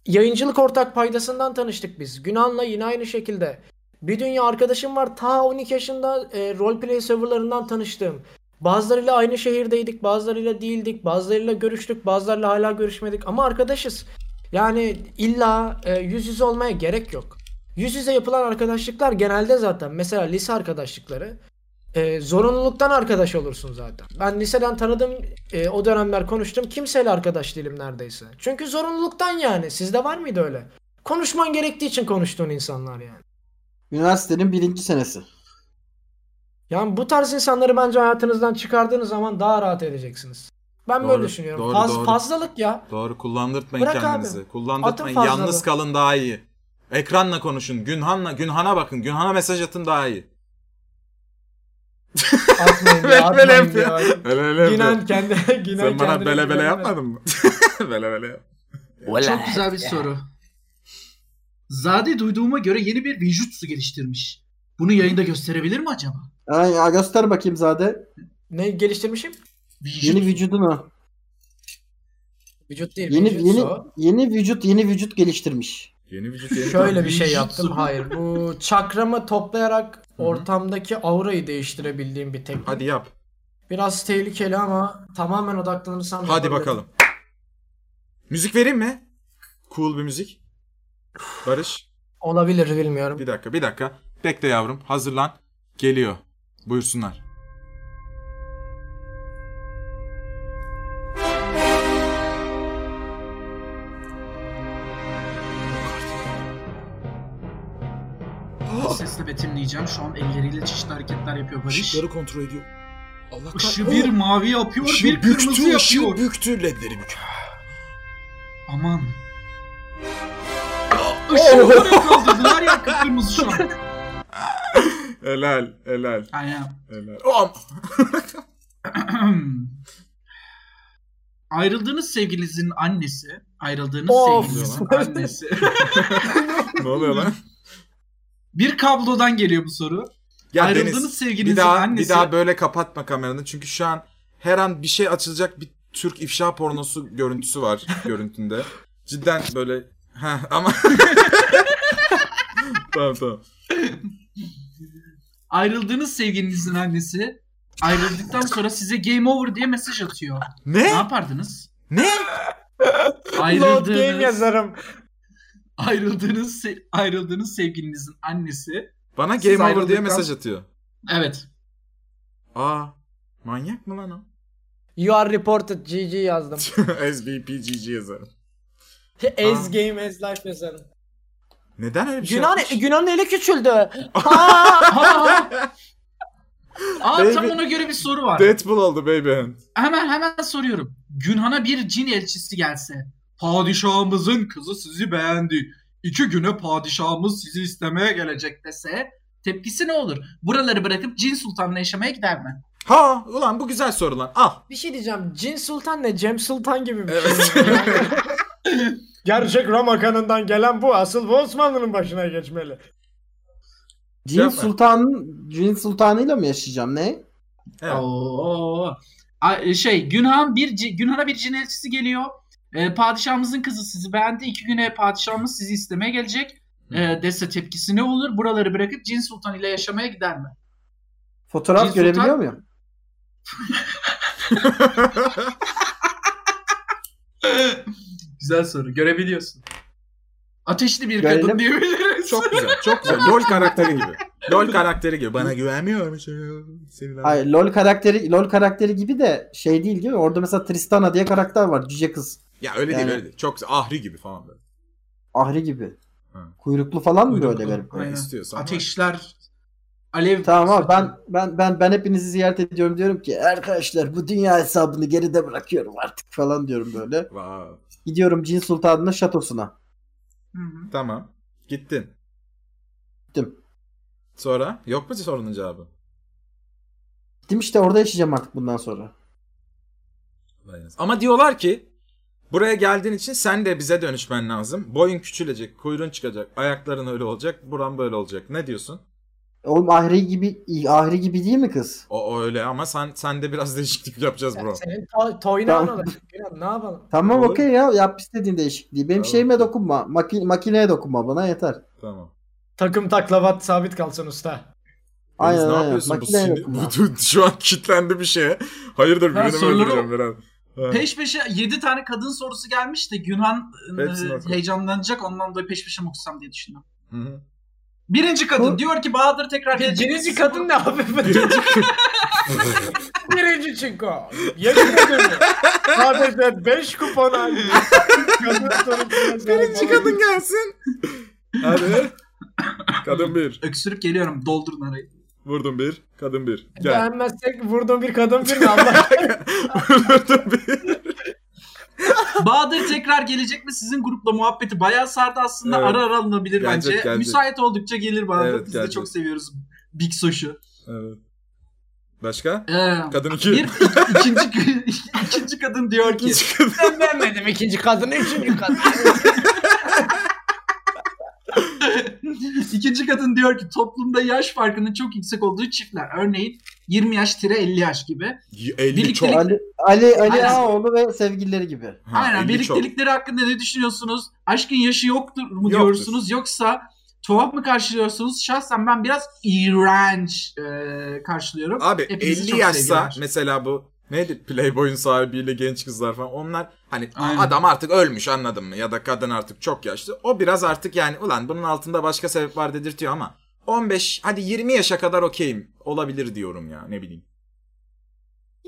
yayıncılık ortak paydasından tanıştık biz. Günan'la yine aynı şekilde. Bir dünya arkadaşım var ta 12 yaşında e, roleplay serverlarından tanıştığım. Bazılarıyla aynı şehirdeydik, bazılarıyla değildik, bazılarıyla görüştük, bazılarıyla hala görüşmedik ama arkadaşız. Yani illa e, yüz yüze olmaya gerek yok. Yüz yüze yapılan arkadaşlıklar genelde zaten mesela lise arkadaşlıkları e, zorunluluktan arkadaş olursun zaten. Ben liseden tanıdığım e, o dönemler konuştum kimseyle arkadaş değilim neredeyse. Çünkü zorunluluktan yani sizde var mıydı öyle? Konuşman gerektiği için konuştuğun insanlar yani. Üniversitenin birinci senesi. Yani bu tarz insanları bence hayatınızdan çıkardığınız zaman daha rahat edeceksiniz. Ben böyle Doğru, düşünüyorum. doğru, Faz- doğru. Fazlalık ya. Doğru kullandırtmayın Bırak kendinizi. Kullandırtmayın. Atın Yalnız fazlalığı. kalın daha iyi. Ekranla konuşun. Günhan'la Günhan'a bakın. Günhan'a mesaj atın daha iyi. Atmayın ya, Böyle atmayın ya. Öyle Günan kendi, Günan Sen bana kendine bele bele güvenemez. yapmadın mı? bele bele yap. Çok güzel bir soru. Zade duyduğuma göre yeni bir Vijutsu geliştirmiş. Bunu yayında gösterebilir mi acaba? Ay, ya göster bakayım Zade. Ne geliştirmişim? Yeni Vijutsu. vücudunu. Vücut değil. Yeni vücut yeni o. yeni vücut yeni vücut geliştirmiş. Yeni vücut yeni Şöyle bir şey Vücut yaptım. su. Hayır bu çakramı toplayarak ortamdaki aurayı değiştirebildiğim bir teknik. Hadi yap. Biraz tehlikeli ama tamamen odaklanırsam Hadi yapabilirim. bakalım. Müzik vereyim mi? Cool bir müzik. Barış. Olabilir bilmiyorum. Bir dakika bir dakika. Bekle yavrum. Hazırlan. Geliyor. Buyursunlar. Bu Sesle betimleyeceğim. Şu an elleriyle çeşitli hareketler yapıyor Barış. Işıkları kontrol ediyor. Allah Işığı bir mavi yapıyor, Işığı bir kırmızı büktü, yapıyor. ışığı büktü, ledleri büktü. Aman. Oh. Işığı oraya kaldırdı. Her yer kıpkırmızı şu an. Helal, helal, Aynen. helal. Oh, Ayrıldığınız sevgilinizin annesi, ayrıldığınız Of. sevgilinizin annesi. ne oluyor lan? bir kablodan geliyor bu soru. Ya ayrıldığınız Deniz bir sevgilinizin daha, annesi. bir daha böyle kapatma kameranı çünkü şu an her an bir şey açılacak bir Türk ifşa pornosu görüntüsü var görüntünde. Cidden böyle ha ama tamam tamam. Ayrıldığınız sevgilinizin annesi ayrıldıktan sonra size game over diye mesaj atıyor. Ne Ne? yapardınız? Ne? Load game Ayrıldığınız, yazarım. ayrıldığınız, se- ayrıldığınız sevgilinizin annesi. Bana Siz game over diye ayrıldıktan- mesaj atıyor. Evet. Aa manyak mı lan o? You are reported GG yazdım. SBPGG yazarım. As game as life yazarım. Neden öyle bir şey Yunan, yapmış? Yunan'ın eli küçüldü. Aa! Aa, aa, tam Baby- ona göre bir soru var. Deadpool oldu baby hand. Hemen hemen soruyorum. Günhan'a bir cin elçisi gelse. Padişahımızın kızı sizi beğendi. İki güne padişahımız sizi istemeye gelecek dese tepkisi ne olur? Buraları bırakıp cin sultanla yaşamaya gider mi? Ha ulan bu güzel soru lan al. bir şey diyeceğim. Cin Sultan ne? Cem Sultan gibi bir Evet. şey. Gerçek Roma kanından gelen bu. Asıl bu Osmanlı'nın başına geçmeli. Şey Cin Yapma. Sultan Cin Sultanıyla mı yaşayacağım ne? Evet. Oo. A- şey Günhan bir ci- Günhan'a bir cin elçisi geliyor. Ee, padişahımızın kızı sizi beğendi. İki güne padişahımız sizi istemeye gelecek. Ee, dese tepkisi ne olur? Buraları bırakıp cin sultan ile yaşamaya gider mi? Fotoğraf Cin görebiliyor Sultan- muyum? Güzel soru. Görebiliyorsun. Ateşli bir Görelim. kadın diyebiliriz. Çok güzel, çok güzel. LOL karakteri gibi. LOL karakteri gibi. Bana güvenmiyor musun? Seni ben- Hayır LoL karakteri LoL karakteri gibi de şey değil değil mi? Orada mesela Tristana diye karakter var cüce kız. Ya öyle değil Yani- öyle değil. Çok güzel. ahri gibi falan böyle. Ahri gibi. Hı. Kuyruklu falan mı Kuyruklu. böyle benim? Böyle Aynen. istiyorsan. var. Ateşler Alev Tamam abi ben ben ben ben hepinizi ziyaret ediyorum diyorum ki arkadaşlar bu dünya hesabını geride bırakıyorum artık falan diyorum böyle. Wow. Gidiyorum Cin Sultanı'nın şatosuna. Hı hı. Tamam. Gittin. Gittim. Sonra yok mu sorunun cevabı? Gittim işte orada yaşayacağım artık bundan sonra. Vay anasını. Ama diyorlar ki buraya geldiğin için sen de bize dönüşmen lazım. Boyun küçülecek, kuyruğun çıkacak, ayakların öyle olacak, buran böyle olacak. Ne diyorsun? Oğlum ahri gibi ahri gibi değil mi kız? O, o öyle ama sen sen de biraz değişiklik yapacağız bro. Senin to- toynağın Tamam. olacak. Kenan, Ne yapalım? Tamam Olur. okey ya yap istediğin değişikliği. Benim Tamam. şeyime dokunma. Maki- makineye dokunma bana yeter. Tamam. Takım taklavat sabit kalsın usta. Deniz, Aynen ne aynen. yapıyorsun? Bu, Makineye sinir- dokunma. bu- şu an kilitlendi bir şeye. Hayırdır Ha, birini mi soruları- öldüreceğim biraz. Ha. Peş peşe 7 tane kadın sorusu gelmiş de Günhan e, Hepsini oku. heyecanlanacak ondan dolayı peş peşe mi okusam diye düşündüm. Hı hı. Birinci kadın Bu- diyor ki Bahadır tekrar gelecek. Birinci kadın ne abi? Birinci Birinci çinko. Yedi ödülü. Sadece 5 kupon halinde. Kadın sorusuna sahip Birinci olan- kadın gelsin. Hadi. Kadın bir. Öksürüp geliyorum doldurun arayı. Vurdum bir. Kadın bir. Gel. Beğenmezsek vurdum bir kadın bir de Allah. Vurdum bir. Bahadır tekrar gelecek mi? Sizin grupla muhabbeti bayağı sardı aslında. Evet. Ara ara alınabilir Gelecek, bence. gelecek. Müsait oldukça gelir Bahadır. Evet, Biz de gelecek. çok seviyoruz Big Soş'u. Evet. Başka? Ee, Kadın iki. bir ik- ikinci, ikinci kadın diyor ki İkinci kadın. Ben beğenmedim ikinci kadını üçüncü kadını. İkinci kadın diyor ki toplumda yaş farkının çok yüksek olduğu çiftler. Örneğin 20 yaş tire 50 yaş gibi. 50 çok. Birliktelik- Ali Ali Ali Aynen. Ağaoğlu ve sevgilileri gibi. Ha, Aynen 50 çok. birliktelikleri hakkında ne düşünüyorsunuz? Aşkın yaşı yoktur Yoktur. mu diyorsunuz yoksa tuhaf mı karşılıyorsunuz? Şahsen ben biraz iğrenç e, karşılıyorum. Abi Hepinizi 50 çok şey yaşsa sevgiler. mesela bu neydi Playboy'un sahibiyle genç kızlar falan onlar hani Aynen. adam artık ölmüş anladın mı ya da kadın artık çok yaşlı o biraz artık yani ulan bunun altında başka sebep var dedirtiyor ama 15 hadi 20 yaşa kadar okeyim olabilir diyorum ya ne bileyim.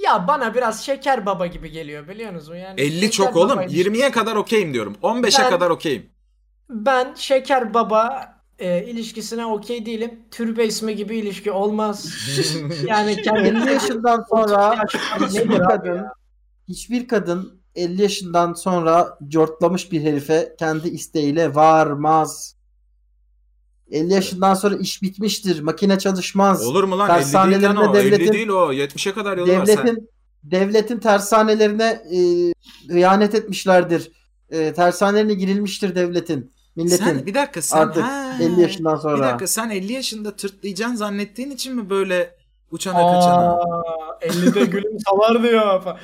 Ya bana biraz şeker baba gibi geliyor biliyor musun? Yani 50 şeker çok oğlum babaymış. 20'ye kadar okeyim diyorum 15'e Ben- kadar okeyim. Ben şeker baba e, ilişkisine okey değilim. Türbe ismi gibi ilişki olmaz. yani 50 kendini yaşından sonra nedir hiçbir abi kadın ya? hiçbir kadın 50 yaşından sonra cortlamış bir herife kendi isteğiyle varmaz. 50 yaşından sonra iş bitmiştir. Makine çalışmaz. Olur mu lan 50 değil lan Tersanelerinde o 50 devletin- değil o 70'e kadar yolu var sen. devletin devletin tersanelerine e, hıyanet etmişlerdir. E, tersanelerine girilmiştir devletin, milletin. Sen bir dakika sen artık ha. 50 yaşından Bir sonra. dakika sen 50 yaşında tırtlayacaksın zannettiğin için mi böyle uçana kaçana? Aa, 50'de gülüm salar diyor falan.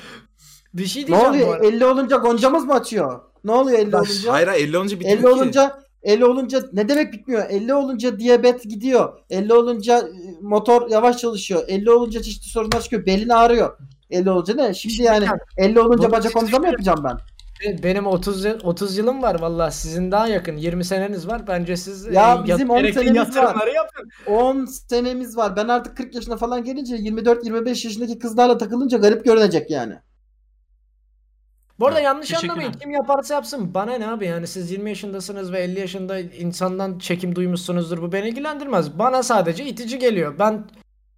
Bir şey Ne diyeceğim bu oluyor? arada. 50 olunca goncamız mı açıyor? Ne oluyor 50 olunca? Hayır hayır, 50 olunca bitmiyor 50 ki. olunca 50 olunca ne demek bitmiyor? 50 olunca diyabet gidiyor. 50 olunca e, motor yavaş çalışıyor. 50 olunca çeşitli sorunlar çıkıyor. Belin ağrıyor. 50 olunca ne? Şimdi yani 50 olunca Bunu bacak omza şey- mı yapacağım ben? Be- Benim 30 yıl- 30 yılım var valla sizin daha yakın 20 seneniz var bence siz e, Ya bizim on gerekli senemiz yatırımları yapın. 10 senemiz var. Ben artık 40 yaşına falan gelince 24-25 yaşındaki kızlarla takılınca garip görünecek yani. Bu arada yanlış Teşekkürler. anlamayın kim yaparsa yapsın bana ne abi yani siz 20 yaşındasınız ve 50 yaşında insandan çekim duymuşsunuzdur bu beni ilgilendirmez. Bana sadece itici geliyor ben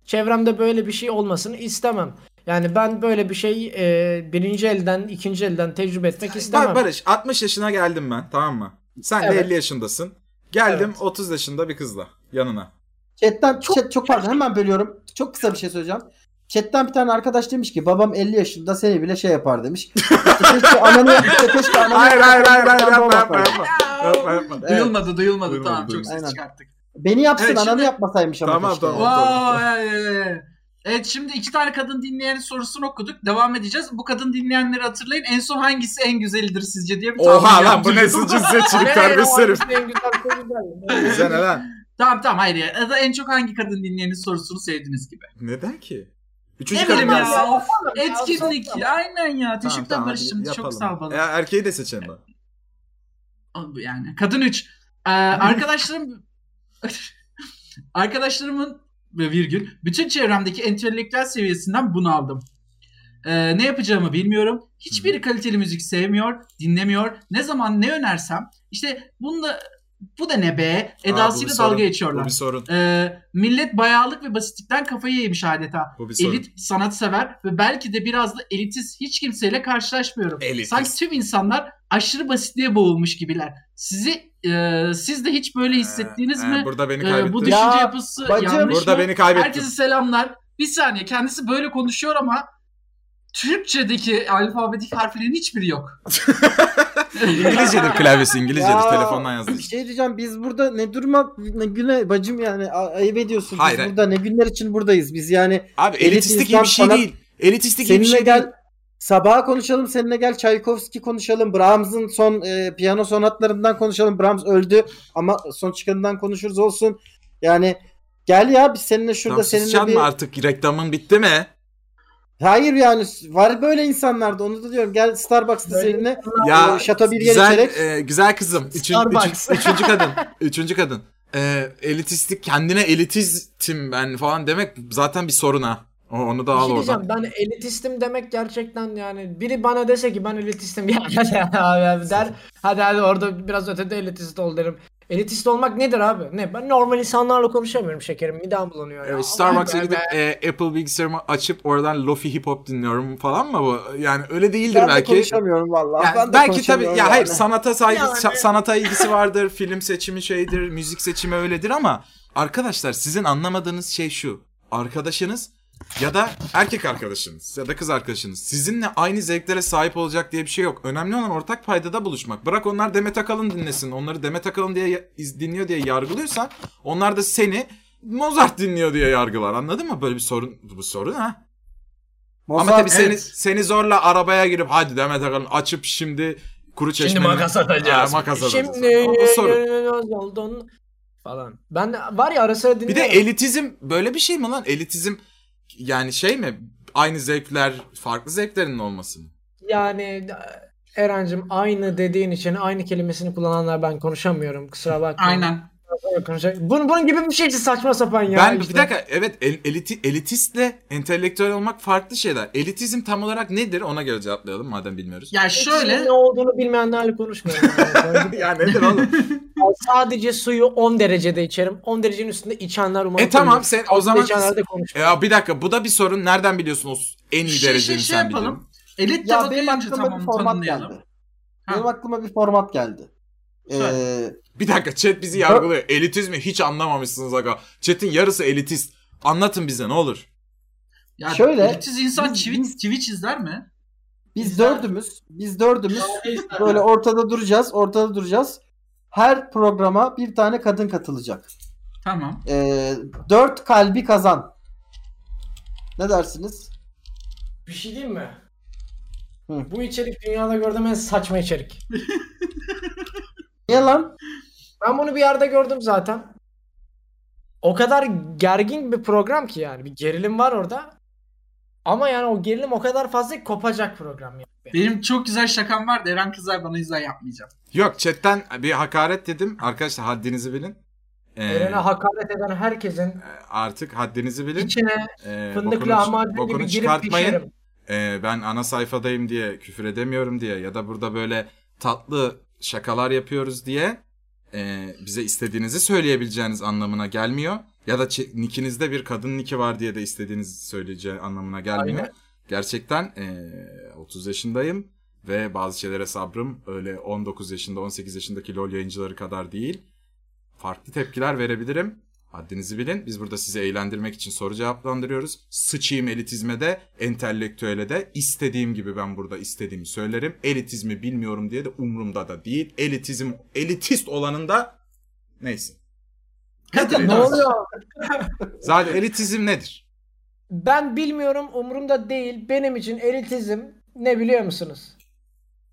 çevremde böyle bir şey olmasını istemem. Yani ben böyle bir şey e, birinci elden ikinci elden tecrübe etmek istemem. Bak Barış 60 yaşına geldim ben tamam mı? Sen de Evet. 50 yaşındasın. Geldim Evet. 30 yaşında bir kızla yanına. Chatten çok, chat, çok pardon hemen bölüyorum. Çok kısa bir şey söyleyeceğim. Chatten bir tane arkadaş demiş ki babam 50 yaşında seni bile şey yapar demiş. İşte keşke ananı işte keşke ananı Hayır hayır hayır hayır Ben yapma babam yapma yaparım. yapma. yapma, yapma. Evet. Duyulmadı duyulmadı Duyulmadı, tamam çok duyulmadı. ses Aynen. çıkarttık. Beni yapsın Evet, ananı şimdi- yapmasaymış ama Tamam, keşke. tamam. Yani. Vay. Evet şimdi iki tane kadın dinleyenin sorusunu okuduk. Devam edeceğiz. Bu kadın dinleyenleri hatırlayın. En son hangisi en güzelidir sizce diye bir tahmin Oha lan bu yaptırdım. ne sıcı Ne, seçilik o terbiyesiz herif. en güzel konular. Sen lan. Tamam tamam hayır ya. Ya da en çok hangi kadın dinleyenin sorusunu sevdiniz gibi. Neden ki? Üçüncü ne bileyim kadın gelsin. ya. Of, ya, etkinlik. sağ ol. Aynen ya. Tamam, Teşekkürler tamam, hadi Barış'cığım. Çok yapalım. sağ ol bana. Ya, erkeği de seçelim bak. Abi Yani kadın 3. arkadaşlarım arkadaşlarımın ve virgül bütün çevremdeki entelektüel seviyesinden bunu aldım. Ee, ne yapacağımı bilmiyorum. Hiçbiri kaliteli müzik sevmiyor, dinlemiyor. Ne zaman ne önersem işte bununla bu da ne be edasıyla bir sorun. E, dalga Bu bir geçiyorlar. sorun. Ee, millet bayağılık ve basitlikten kafayı yemiş adeta. Bu bir sorun. Elit, sanatsever ve belki de biraz da elitist hiç kimseyle karşılaşmıyorum. Elitist. Sanki tüm insanlar aşırı basitliğe boğulmuş gibiler. Sizi e, siz de hiç böyle hissettiniz Ee, mi? e, Burada beni Ee, kaybettin. bu düşünce Ya, yapısı bacım. yanlış Burada mı? beni kaybettin. Herkese selamlar. Bir saniye kendisi böyle konuşuyor ama Türkçedeki alfabetik harflerin hiçbiri yok. İngilizcedir klavyesi İngilizcedir. Ya. Telefondan yazdığı Bir için. şey diyeceğim biz burada ne durma ne güne bacım yani a- ayıp ediyorsun. Biz Hayır, hayır. burada ne günler için buradayız biz yani. Abi Elit elitistlik iyi bir insan şey sanat- değil. Elitistlik iyi bir Seninle şey değil. gel sabaha konuşalım seninle gel Çaykovski konuşalım. Brahms'ın son e, piyano sonatlarından konuşalım. Brahms öldü ama son çıkanından konuşuruz olsun. Yani gel ya biz seninle şurada Tamam, seninle sıçacaksın bir... mı artık reklamın bitti mi? Hayır yani var böyle insanlarda onu da diyorum gel Starbucks'ta Böyle seninle Ya şato bir yer güzel, içerek e, güzel kızım. Üçün, Starbucks. üçün- üçüncü kadın. Üçüncü kadın. E, elitistlik kendine elitistim ben falan demek zaten bir sorun ha. O- Onu da Bir al şey oradan. diyeceğim ben elitistim demek gerçekten yani biri bana dese ki ben elitistim ya ya abi der hadi hadi orada biraz ötede elitist ol derim. Elitist olmak nedir abi? Ne ben normal insanlarla konuşamıyorum şekerim midem bulanıyor ya. E, Starbucks'a Aman gidip e, Apple bilgisayarımı açıp oradan lofi hip hop dinliyorum falan mı bu? Yani öyle değildir ben de belki. konuşamıyorum vallahi. Yani ben de belki tabii konuşamıyorum ya hayır yani. sanata saygı Yani. sa- sanata ilgisi vardır, film seçimi şeydir, müzik seçimi öyledir ama arkadaşlar sizin anlamadığınız şey şu. Arkadaşınız ya da erkek arkadaşınız ya da kız arkadaşınız sizinle aynı zevklere sahip olacak diye bir şey yok. Önemli olan ortak paydada buluşmak. Bırak onlar Demet Akalın dinlesin. Onları Demet Akalın diye ya- iz- dinliyor diye yargılıyorsan onlar da seni Mozart dinliyor diye yargılar. Anladın mı? Böyle bir sorun bu sorun ha. Mozart- Ama tabii seni evet. seni zorla arabaya girip hadi Demet Akalın açıp şimdi kuru çeşmenin... atacağız. makas atacağız. Şimdi O- o sorun. görünmez oldun falan. Ben var ya ara sıra Bir de dinliyorum. elitizm böyle bir şey mi lan? Elitizm yani şey mi? Aynı zevkler, farklı zevklerin olması mı? Yani Eren'cim aynı dediğin için aynı kelimesini kullananlar ben konuşamıyorum. Kusura bakma. Aynen. Konuşa- Bunun, bunun gibi bir şey işte saçma sapan ya. ben işte. bir dakika evet el- eliti, elitistle entelektüel olmak farklı şeyler. Elitizm tam olarak nedir? Ona göre cevaplayalım madem bilmiyoruz. Ya şöyle Hiçbir ne olduğunu bilmeyenlerle konuşmuyorum. Yani. ya nedir oğlum? Ben sadece suyu 10 derecede içerim. 10 derecenin üstünde içenler umarım. e tamam sen o zaman... İçenler de konuşmuyor. Ya bir dakika bu da bir sorun. Nereden biliyorsun o s- en iyi Şey, şey, dereceni şey sen yapalım. biliyorsun? elit ya tabakayı benim önce aklıma bir tamam format tanımlayalım. geldi. Ha. Benim aklıma bir format geldi. Ee, Bir dakika chat bizi yargılıyor. Elitizmi hiç anlamamışsınız aga. Chat'in yarısı elitist. Anlatın bize ne olur. Ya Şöyle, elitiz insan biz- Twitch, Twitch izler mi? biz Güzel. dördümüz, biz dördümüz böyle ortada duracağız, ortada duracağız. Her programa bir tane kadın katılacak. Tamam. Ee, dört kalbi kazan. Ne dersiniz? Bir şey diyeyim mi? Hı. Bu içerik dünyada gördüğüm en saçma içerik. Niye lan? Ben bunu bir yerde gördüm zaten. O kadar gergin bir program ki yani. Bir gerilim var orada. Ama yani o gerilim o kadar fazla ki kopacak program yani. Benim çok güzel şakam vardı. Eren kızlar bana izler yapmayacağım. Yok chatten bir hakaret dedim. Arkadaşlar haddinizi bilin. Ee, e, Eren'e hakaret eden herkesin artık haddinizi bilin. içine Ee, fındıklı bokunu- amacı gibi bokunu girip çıkartmayın. pişerim. Ee, ben ana sayfadayım diye küfür edemiyorum diye ya da burada böyle tatlı şakalar yapıyoruz diye ee, bize istediğinizi söyleyebileceğiniz anlamına gelmiyor. Ya da çe- nikinizde bir kadın niki var diye de istediğinizi söyleyeceği anlamına gelmiyor. Gerçekten ee, 30 yaşındayım ve bazı şeylere sabrım öyle 19 yaşında 18 yaşındaki LoL yayıncıları kadar değil. farklı tepkiler verebilirim. Haddinizi bilin. Biz burada sizi eğlendirmek için soru cevaplandırıyoruz. Sıçayım elitizme de, entelektüele de. istediğim gibi ben burada istediğimi söylerim. Elitizmi bilmiyorum diye de umurumda da değil. Elitizm, elitist olanın da neyse. Kadın Ne dans. oluyor? Zaten elitizm nedir? Ben bilmiyorum umurumda değil. Benim için elitizm ne biliyor musunuz?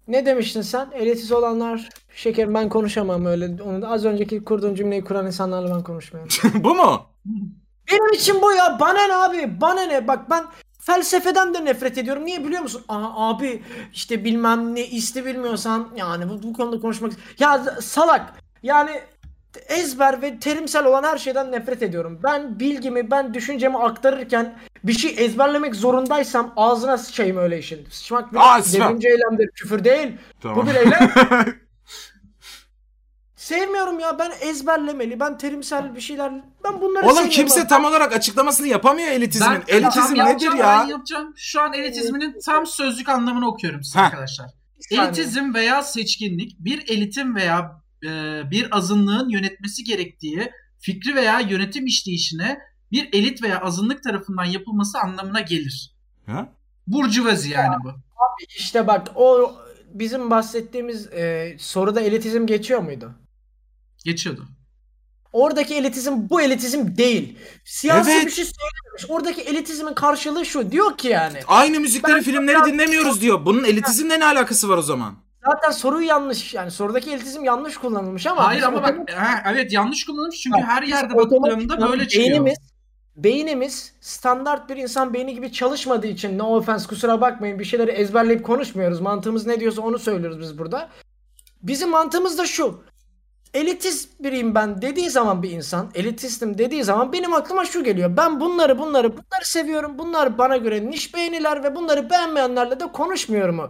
Ne demiştin sen? Elitiz olanlar şekerim ben konuşamam öyle. Onu da az önceki kurduğum cümleyi kuran insanlarla ben konuşmuyorum. Bu mu? Benim için bu ya. Bana ne abi? Bana ne? Bak ben felsefeden de nefret ediyorum. Niye biliyor musun? Aa, abi işte bilmem ne isti bilmiyorsan yani bu, bu konuda konuşmak... Ya salak. Yani ezber ve terimsel olan her şeyden nefret ediyorum. Ben bilgimi, ben düşüncemi aktarırken bir şey ezberlemek zorundaysam ağzına sıçayım öyle işin. Sıçmak bir Aa, sıçma. devrimci eylemdir, küfür değil. Tamam. Bu bir eylem. Sevmiyorum ya ben ezberlemeli, ben terimsel bir şeyler. Ben bunları Oğlum sevmiyorum. kimse tam olarak açıklamasını yapamıyor elitizmin. şey Ben- Elitizm tamam, nedir yapacağım, ya? Ben yapacağım. Şu an elitizminin tam sözlük anlamını okuyorum size Heh. arkadaşlar. Bir saniye. Elitizm veya seçkinlik bir elitin veya e, bir azınlığın yönetmesi gerektiği fikri veya yönetim işleyişine bir elit veya azınlık tarafından yapılması anlamına gelir. Ha? Burjuvazi yani bu. İşte bak o bizim bahsettiğimiz e, soruda elitizm geçiyor muydu? Geçiyordu. Oradaki elitizm bu elitizm değil. Siyasi Evet. bir şey söylememiş. Oradaki elitizmin karşılığı şu. Diyor ki yani Aynı müzikleri, Ben- filmleri dinlemiyoruz diyor. Bunun elitizmle ne alakası var o zaman? zaten soru yanlış. Yani sorudaki elitizm yanlış kullanılmış ama Hayır biz ama otomatik- bak ha, evet yanlış kullanılmış çünkü Bak, her biz yerde otomatik- baktığımda böyle çıkıyor. Beynimiz beynimiz standart bir insan beyni gibi çalışmadığı için no offense kusura bakmayın bir şeyleri ezberleyip konuşmuyoruz. Mantığımız ne diyorsa onu söylüyoruz biz burada. Bizim mantığımız da şu. Elitist biriyim ben dediği zaman bir insan, elitistim dediği zaman benim aklıma şu geliyor. Ben bunları bunları bunları seviyorum. Bunlar bana göre niş beğeniler ve bunları beğenmeyenlerle de konuşmuyorum o.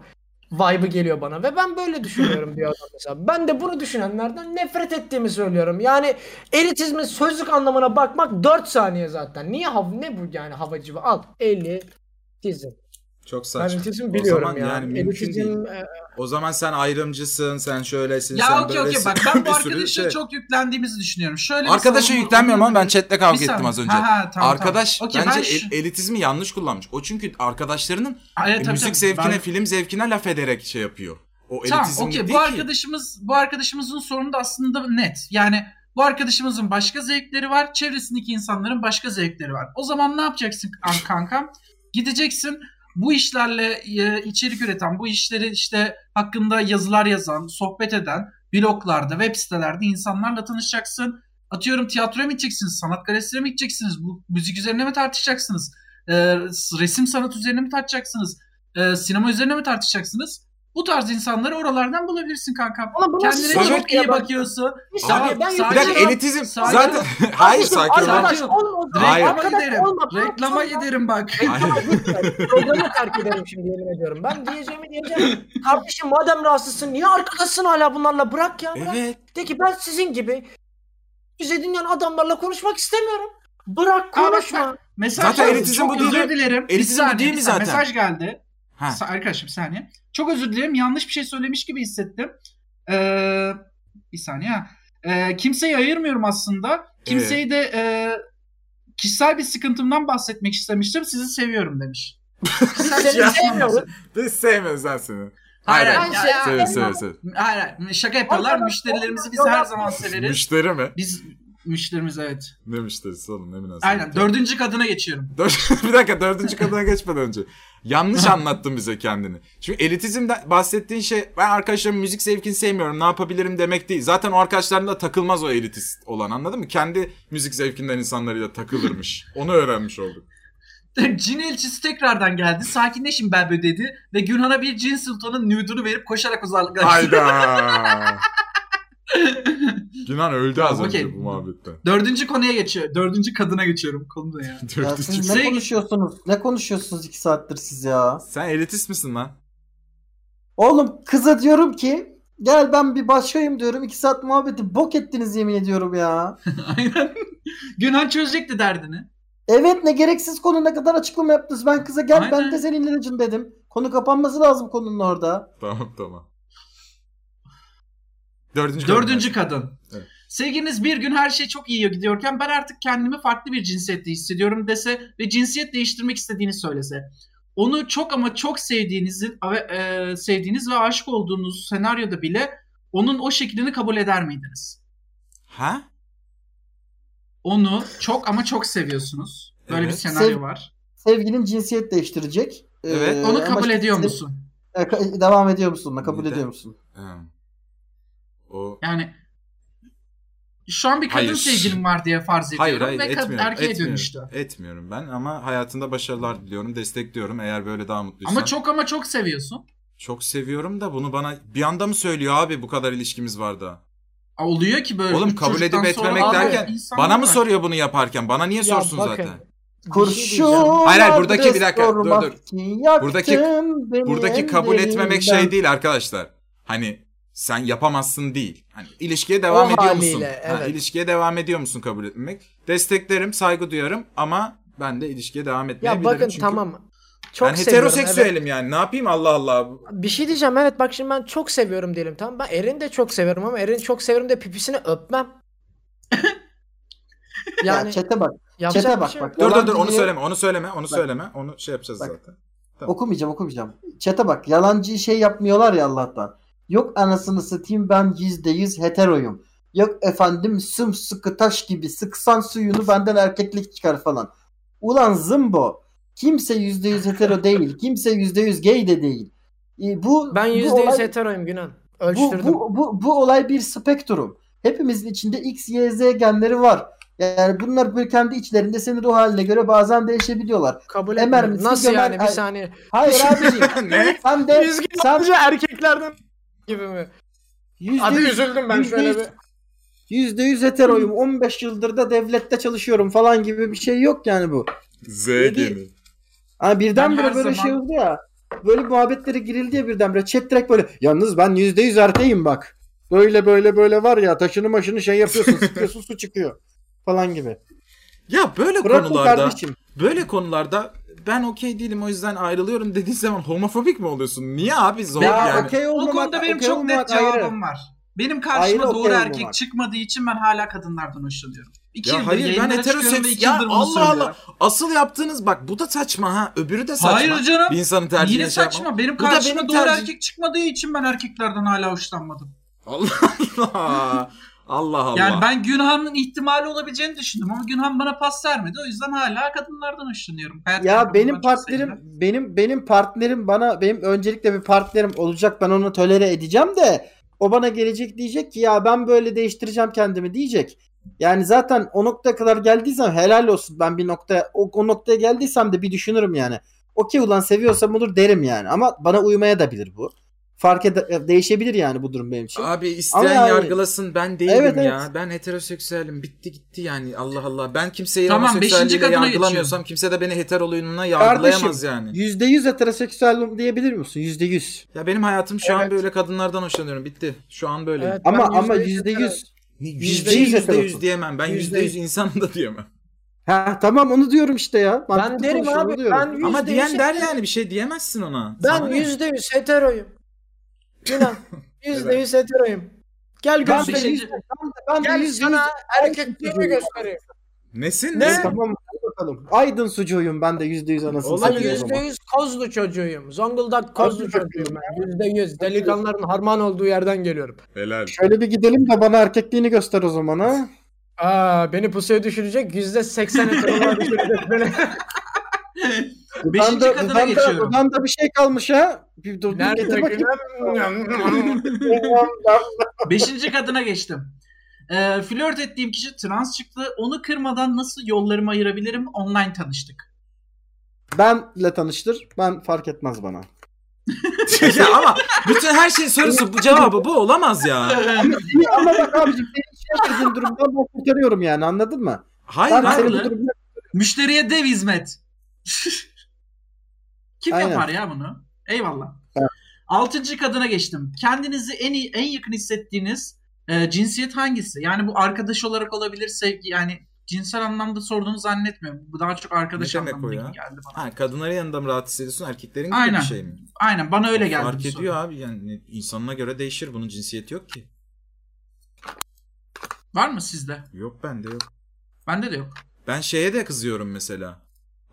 Vibe'ı geliyor bana ve ben böyle düşünüyorum diyor adam mesela. Ben de bunu düşünenlerden nefret ettiğimi söylüyorum. Yani Elitizmin sözlük anlamına bakmak 4 saniye zaten. Niye hav ne bu yani havacıvı al 50 tizim. Çok Ben saçma. elitizm o biliyorum zaman ya. yani mümkün değil. elitizm e, O zaman sen ayrımcısın, sen şöylesin, sen Ya okey okey böylesin. bak ben Bir bu sürü arkadaşa şey. çok yüklendiğimizi düşünüyorum. Şöyle bir Arkadaşa savunma- yüklenmiyorum ama ben chatle Bir kavga ettim saniye. az önce. Ha, ha, tamam, Arkadaş tamam. Okey, ben bence şu- el- elitizmi yanlış kullanmış. O çünkü arkadaşlarının Ha, evet, e, tabii, müzik tabii. zevkine, Ben- film zevkine laf ederek şey yapıyor. O elitizm Tamam okey değil bu ki. arkadaşımız bu arkadaşımızın sorunu da aslında net. Yani bu arkadaşımızın başka zevkleri var. Çevresindeki insanların başka zevkleri var. O zaman ne yapacaksın kan- kankam? Gideceksin bu işlerle e, içerik üreten, bu işleri işte hakkında yazılar yazan, sohbet eden bloglarda, web sitelerde insanlarla tanışacaksın. Atıyorum tiyatroya mı gideceksiniz, sanat galerisine mi gideceksiniz, bu müzik üzerine mi tartışacaksınız, e, resim sanat üzerine mi tartışacaksınız, e, sinema üzerine mi tartışacaksınız? Bu tarz insanları oralardan bulabilirsin kanka. Ama bu nasıl Kendine söz çok yok iyi ya bak- bakıyorsun. Abi, bir saniye, ben bir dakika yapacağım. yürüyorum. elit- elitizm Sakin zaten hayır Kardeşim, sakin ol. Arkadaş Sakin ol. olma. Hayır. Arkadaş Reklama giderim. olma. Reklama Sonra- giderim bak. Hayır. Programı terk ederim şimdi yemin ediyorum. Ben diyeceğimi diyeceğim. Kardeşim madem rahatsızsın niye arkadaşsın hala bunlarla bırak ya. Bırak. Evet. De ki ben sizin gibi bize dünyanın adamlarla konuşmak istemiyorum. Bırak Aa, bak, konuşma. Mesaj Zaten geldi. elitizm Çok bu değil özür mi? dilerim. Bir Elitizm bu saniye, değil bir mi saniye. zaten? Mesaj geldi. Ha. Sa- Arkadaşım bir saniye. Çok özür dilerim. Yanlış bir şey söylemiş gibi hissettim. Ee, bir saniye. ha. Ee, kimseyi ayırmıyorum aslında. Kimseyi de e, kişisel bir sıkıntımdan bahsetmek istemiştim. Sizi seviyorum demiş. Kişisel bir Seni sıkıntı- sevmiyorum. Biz sevmiyoruz lan seni. Hayır, Hayır, hayır. hayır. Ya- Seviyoruz, seviyoruz, seviyoruz. Hayır, hayır. Şaka yapıyorlar. Onlar- Müşterilerimizi biz onlar- her zaman severiz. Müşteri mi? Biz müşterimiz evet. Ne müşterisi oğlum ne münasebet. Aynen. Dördüncü kadına geçiyorum. Dör- bir dakika dördüncü kadına geçmeden önce. Yanlış anlattın bize kendini. Çünkü elitizmden bahsettiğin şey ben arkadaşlarım müzik zevkini sevmiyorum ne yapabilirim demek değil. Zaten o arkadaşlarında takılmaz o elitist olan anladın mı? Kendi müzik zevkinden insanlarıyla takılırmış. Onu öğrenmiş olduk. Cin elçisi tekrardan geldi. Sakinleşin Belbo dedi. Ve Günhan'a bir cin sultanın nude'unu verip koşarak uzaklaştı. Hayda. Günan öldü az Tamam, önce okey. bu muhabbette. Dördüncü konuya geçiyor. Dördüncü kadına geçiyorum. Konu ne ya? Ya Dördüncü- siz ne Sevgi- konuşuyorsunuz? Ne konuşuyorsunuz iki saattir siz ya? Sen elitist misin lan? Oğlum kıza diyorum ki gel ben bir başlayayım diyorum. iki saat muhabbeti bok ettiniz yemin ediyorum ya. Aynen. Günhan çözecekti derdini. Evet ne gereksiz konu ne kadar açıklama yaptınız. Ben kıza gel ben Aynen. de senin ilacın dedim. Konu kapanması lazım konunun orada. Tamam tamam. Dördüncü, Dördüncü kadın. Evet. Sevgiliniz bir gün her şey çok iyi gidiyorken ben artık kendimi farklı bir cinsiyette hissediyorum dese ve cinsiyet değiştirmek istediğini söylese. Onu çok ama çok sevdiğinizi ve e, sevdiğiniz ve aşık olduğunuz senaryoda bile onun o şeklini kabul eder miydiniz? Ha? onu çok ama çok seviyorsunuz. Böyle Evet. bir senaryo Sev- var. Sevgilin cinsiyet değiştirecek. Ee, Evet. Onu ama kabul işte- ediyor musun? E, ka- Devam ediyor musun? ona? Kabul Neden? ediyor musun? Hmm. O Yani şu an bir kadın Hayır. sevgilim var diye farz ediyorum hayır hayır ve kad- etmiyorum. erkeğe etmiyorum, dönüştü. etmiyorum ben ama hayatında başarılar diliyorum, destekliyorum. Eğer böyle daha mutluysan. Ama çok ama çok seviyorsun. çok seviyorum da bunu bana bir anda mı söylüyor abi bu kadar ilişkimiz var da. Aa, Oluyor ki böyle. Oğlum üç kabul çocuktan edip sonra- etmemek Abi, derken insan bana mı var. soruyor bunu yaparken? Bana niye Ya sorsun bakın, zaten? şey Kurşun. Hayır, hayır, buradaki- bir dakika, dur, dur. Buradaki- Buradaki Buradaki kabul etmemek şey değil arkadaşlar. şey Hani sen yapamazsın değil. Hani ilişkiye devam O ediyor haliyle, musun? Ha, evet. ilişkiye devam ediyor musun kabul etmek? Desteklerim, saygı duyarım ama ben de ilişkiye devam etmeyebilirim. Ya bakın çünkü tamam. Çok ben seviyorum, evet. heteroseksüelim yani. Ne yapayım Allah Allah. Bir şey diyeceğim evet bak şimdi ben çok seviyorum diyelim tamam. Ben Eren'i de çok seviyorum ama Eren'i çok severim de pipisini öpmem. Yani, Yani ya çete bak. yapacak Çete bir bak şey yok. bak. Dur dur dur onu Yalancıyı söyleme, onu söyleme, onu söyleme. Onu şey yapacağız Bak. zaten. Okumayacağım okumayacağım. Çete bak. Yalancı şey yapmıyorlar ya Allah'tan. Yok anasını satayım ben %100 heteroyum. Yok efendim sımsıkı taş gibi sıksan suyunu benden erkeklik çıkar falan. Ulan zımbo. Kimse %100 hetero değil. Kimse %100 gay de değil. E, bu Ben bu %100 olay- heteroyum Günan. bu, Ölçtürdüm. bu, bu, bu olay bir spektrum. Hepimizin içinde X, Y, Z genleri var. Yani bunlar böyle kendi içlerinde senin ruh haline göre bazen değişebiliyorlar. Kabul Emer etmiyorum. misin, Nasıl Gömer- yani bir Ay- saniye. Hayır abiciğim. ne? sen de Biz sen sadece erkeklerden gibi mi? yüzde Abi yüz- üzüldüm ben şöyle yüzde bir. yüz- yüzde yüz heteroyum. 15 yıldır da devlette çalışıyorum falan gibi bir şey yok yani bu. Z geni. Hani birdenbire Ben her böyle zaman- şey oldu ya. Böyle muhabbetlere girildi ya birdenbire. Chat direkt böyle. Yalnız ben yüzde yüz erkeğim bak. Böyle böyle böyle var ya taşını maşını şey yapıyorsun sıkıyorsun su çıkıyor. Falan gibi. Ya böyle Bırak bu konularda kardeşim. böyle konularda ben okey değilim o yüzden ayrılıyorum dediğin zaman homofobik mi oluyorsun? Niye abi zor Ya yani? okey O olmamak, konuda benim okey çok net olmamak ayrı. cevabım var. Benim Ayrı karşıma okey doğru erkek olmamak. çıkmadığı için ben hala kadınlardan hoşlanıyorum. İki Ya yıldır hayır, ben yayınlara heteroseks- çıkıyorum ve iki Ya yıldır bunu Allah Allah, söylüyorum. Asıl yaptığınız bak bu da saçma ha öbürü de saçma. Hayır canım. Bir insanın tercihine Yine şey saçma. yapmam. Benim Bu da karşıma benim doğru tercih- erkek çıkmadığı için ben erkeklerden hala hoşlanmadım. Allah Allah. Allah. Yani ben Günhan'ın ihtimali olabileceğini düşündüm ama Günhan bana pas vermedi. O yüzden hala kadınlardan hoşlanıyorum. Hayat Ya kadınlarından benim çok partnerim seviyorum. benim benim partnerim bana benim öncelikle bir partnerim olacak ben onu tolere edeceğim de o bana gelecek diyecek ki ya ben böyle değiştireceğim kendimi diyecek. Yani zaten o noktaya kadar geldiysem helal olsun ben bir noktaya o, o noktaya geldiysem de bir düşünürüm yani. Okey ulan seviyorsam olur derim yani ama bana uymaya da bilir bu. Fark ede- e, değişebilir yani bu durum benim için. Abi isteyen Ama yani- yargılasın ben değilim Evet, ya. evet. Ben heteroseksüelim. Bitti gitti yani Allah Allah. Ben kimseyi Tamam, beşinci homoseksüelliğiyle kadına yargılamıyorsam geçiyorum. kimse de beni heteroluğuna yargılayamaz Kardeşim, yani. %100 heteroseksüelim diyebilir misin? %100. Ya benim hayatım şu an Evet. böyle kadınlardan hoşlanıyorum. Bitti. Şu an böyle. Evet, Ama ben ama %100 %100 heteroyum. Yüzde yüz yüz yüzde yüz heterosun. diyemem. Ben Yüzde yüzde yüz insanım da diyemem. Ha tamam onu diyorum işte ya. Mantıklı derim konuşuyorum, abi, onu diyorum. ben yüz- Ama %100 diyen der heteroyum. yani bir şey diyemezsin ona. Sana Ben ne? yüzde yüz heteroyum. Günan. Yüzde yüz heteroyum. Gel Ben Yüzde de göstereyim. yüz- yüzde- ben de- ben de Gel yüzde şey sana şey yüz- erkekliğimi göstereyim. Nesin? Ne? nesin? E, Tamam hadi bakalım. Aydın sucuğuyum ben de yüzde yüz anasını Olay Ben satayım. o yüzde zaman. yüz kozlu çocuğuyum. Zonguldak şey kozlu Kozlu çocuğuyum ben. Yüzde yüz. Delikanlıların harman olduğu yerden geliyorum. Helal. Şöyle bir gidelim de bana erkekliğini göster o zaman ha. Aa, beni pusuya düşürecek yüzde seksen heteroluğa düşürecek şey beni. Beşinci Dudağımda- kadına dudağımda- geçiyorum. dudağımda bir şey kalmış ha. Bir dur, dur getir Nerede bakayım. Günan? Beşinci kadına geçtim. Ee, flört ettiğim kişi trans çıktı. Onu kırmadan nasıl yollarımı ayırabilirim? Online tanıştık. Benle tanıştır. Ben fark etmez bana. ya ama bütün her şeyin sorusu bu cevabı bu olamaz ya. İyi ama bak abicim seni işe girdiğin durumdan ben kurtarıyorum yani anladın mı? Hayır Ben Hayır, seni abi. bu lan. durumdan Müşteriye dev hizmet. Kim Aynen. yapar ya bunu? Eyvallah. Evet. Altıncı kadına geçtim. Kendinizi en iyi, en yakın hissettiğiniz e, cinsiyet hangisi? Yani bu arkadaş olarak olabilir, sevgi yani cinsel anlamda sorduğunu zannetmiyorum. Bu daha çok arkadaş Ne demek o anlamında ya? geldi bana. Ha, kadınların yanında mı rahat hissediyorsun erkeklerin gibi Aynen. bir şey mi? Aynen bana öyle geldi. Fark bu ediyor soru. abi yani insanına göre değişir bunun cinsiyeti yok ki. Var mı sizde? Yok bende yok. Bende de yok. Ben şeye de kızıyorum mesela.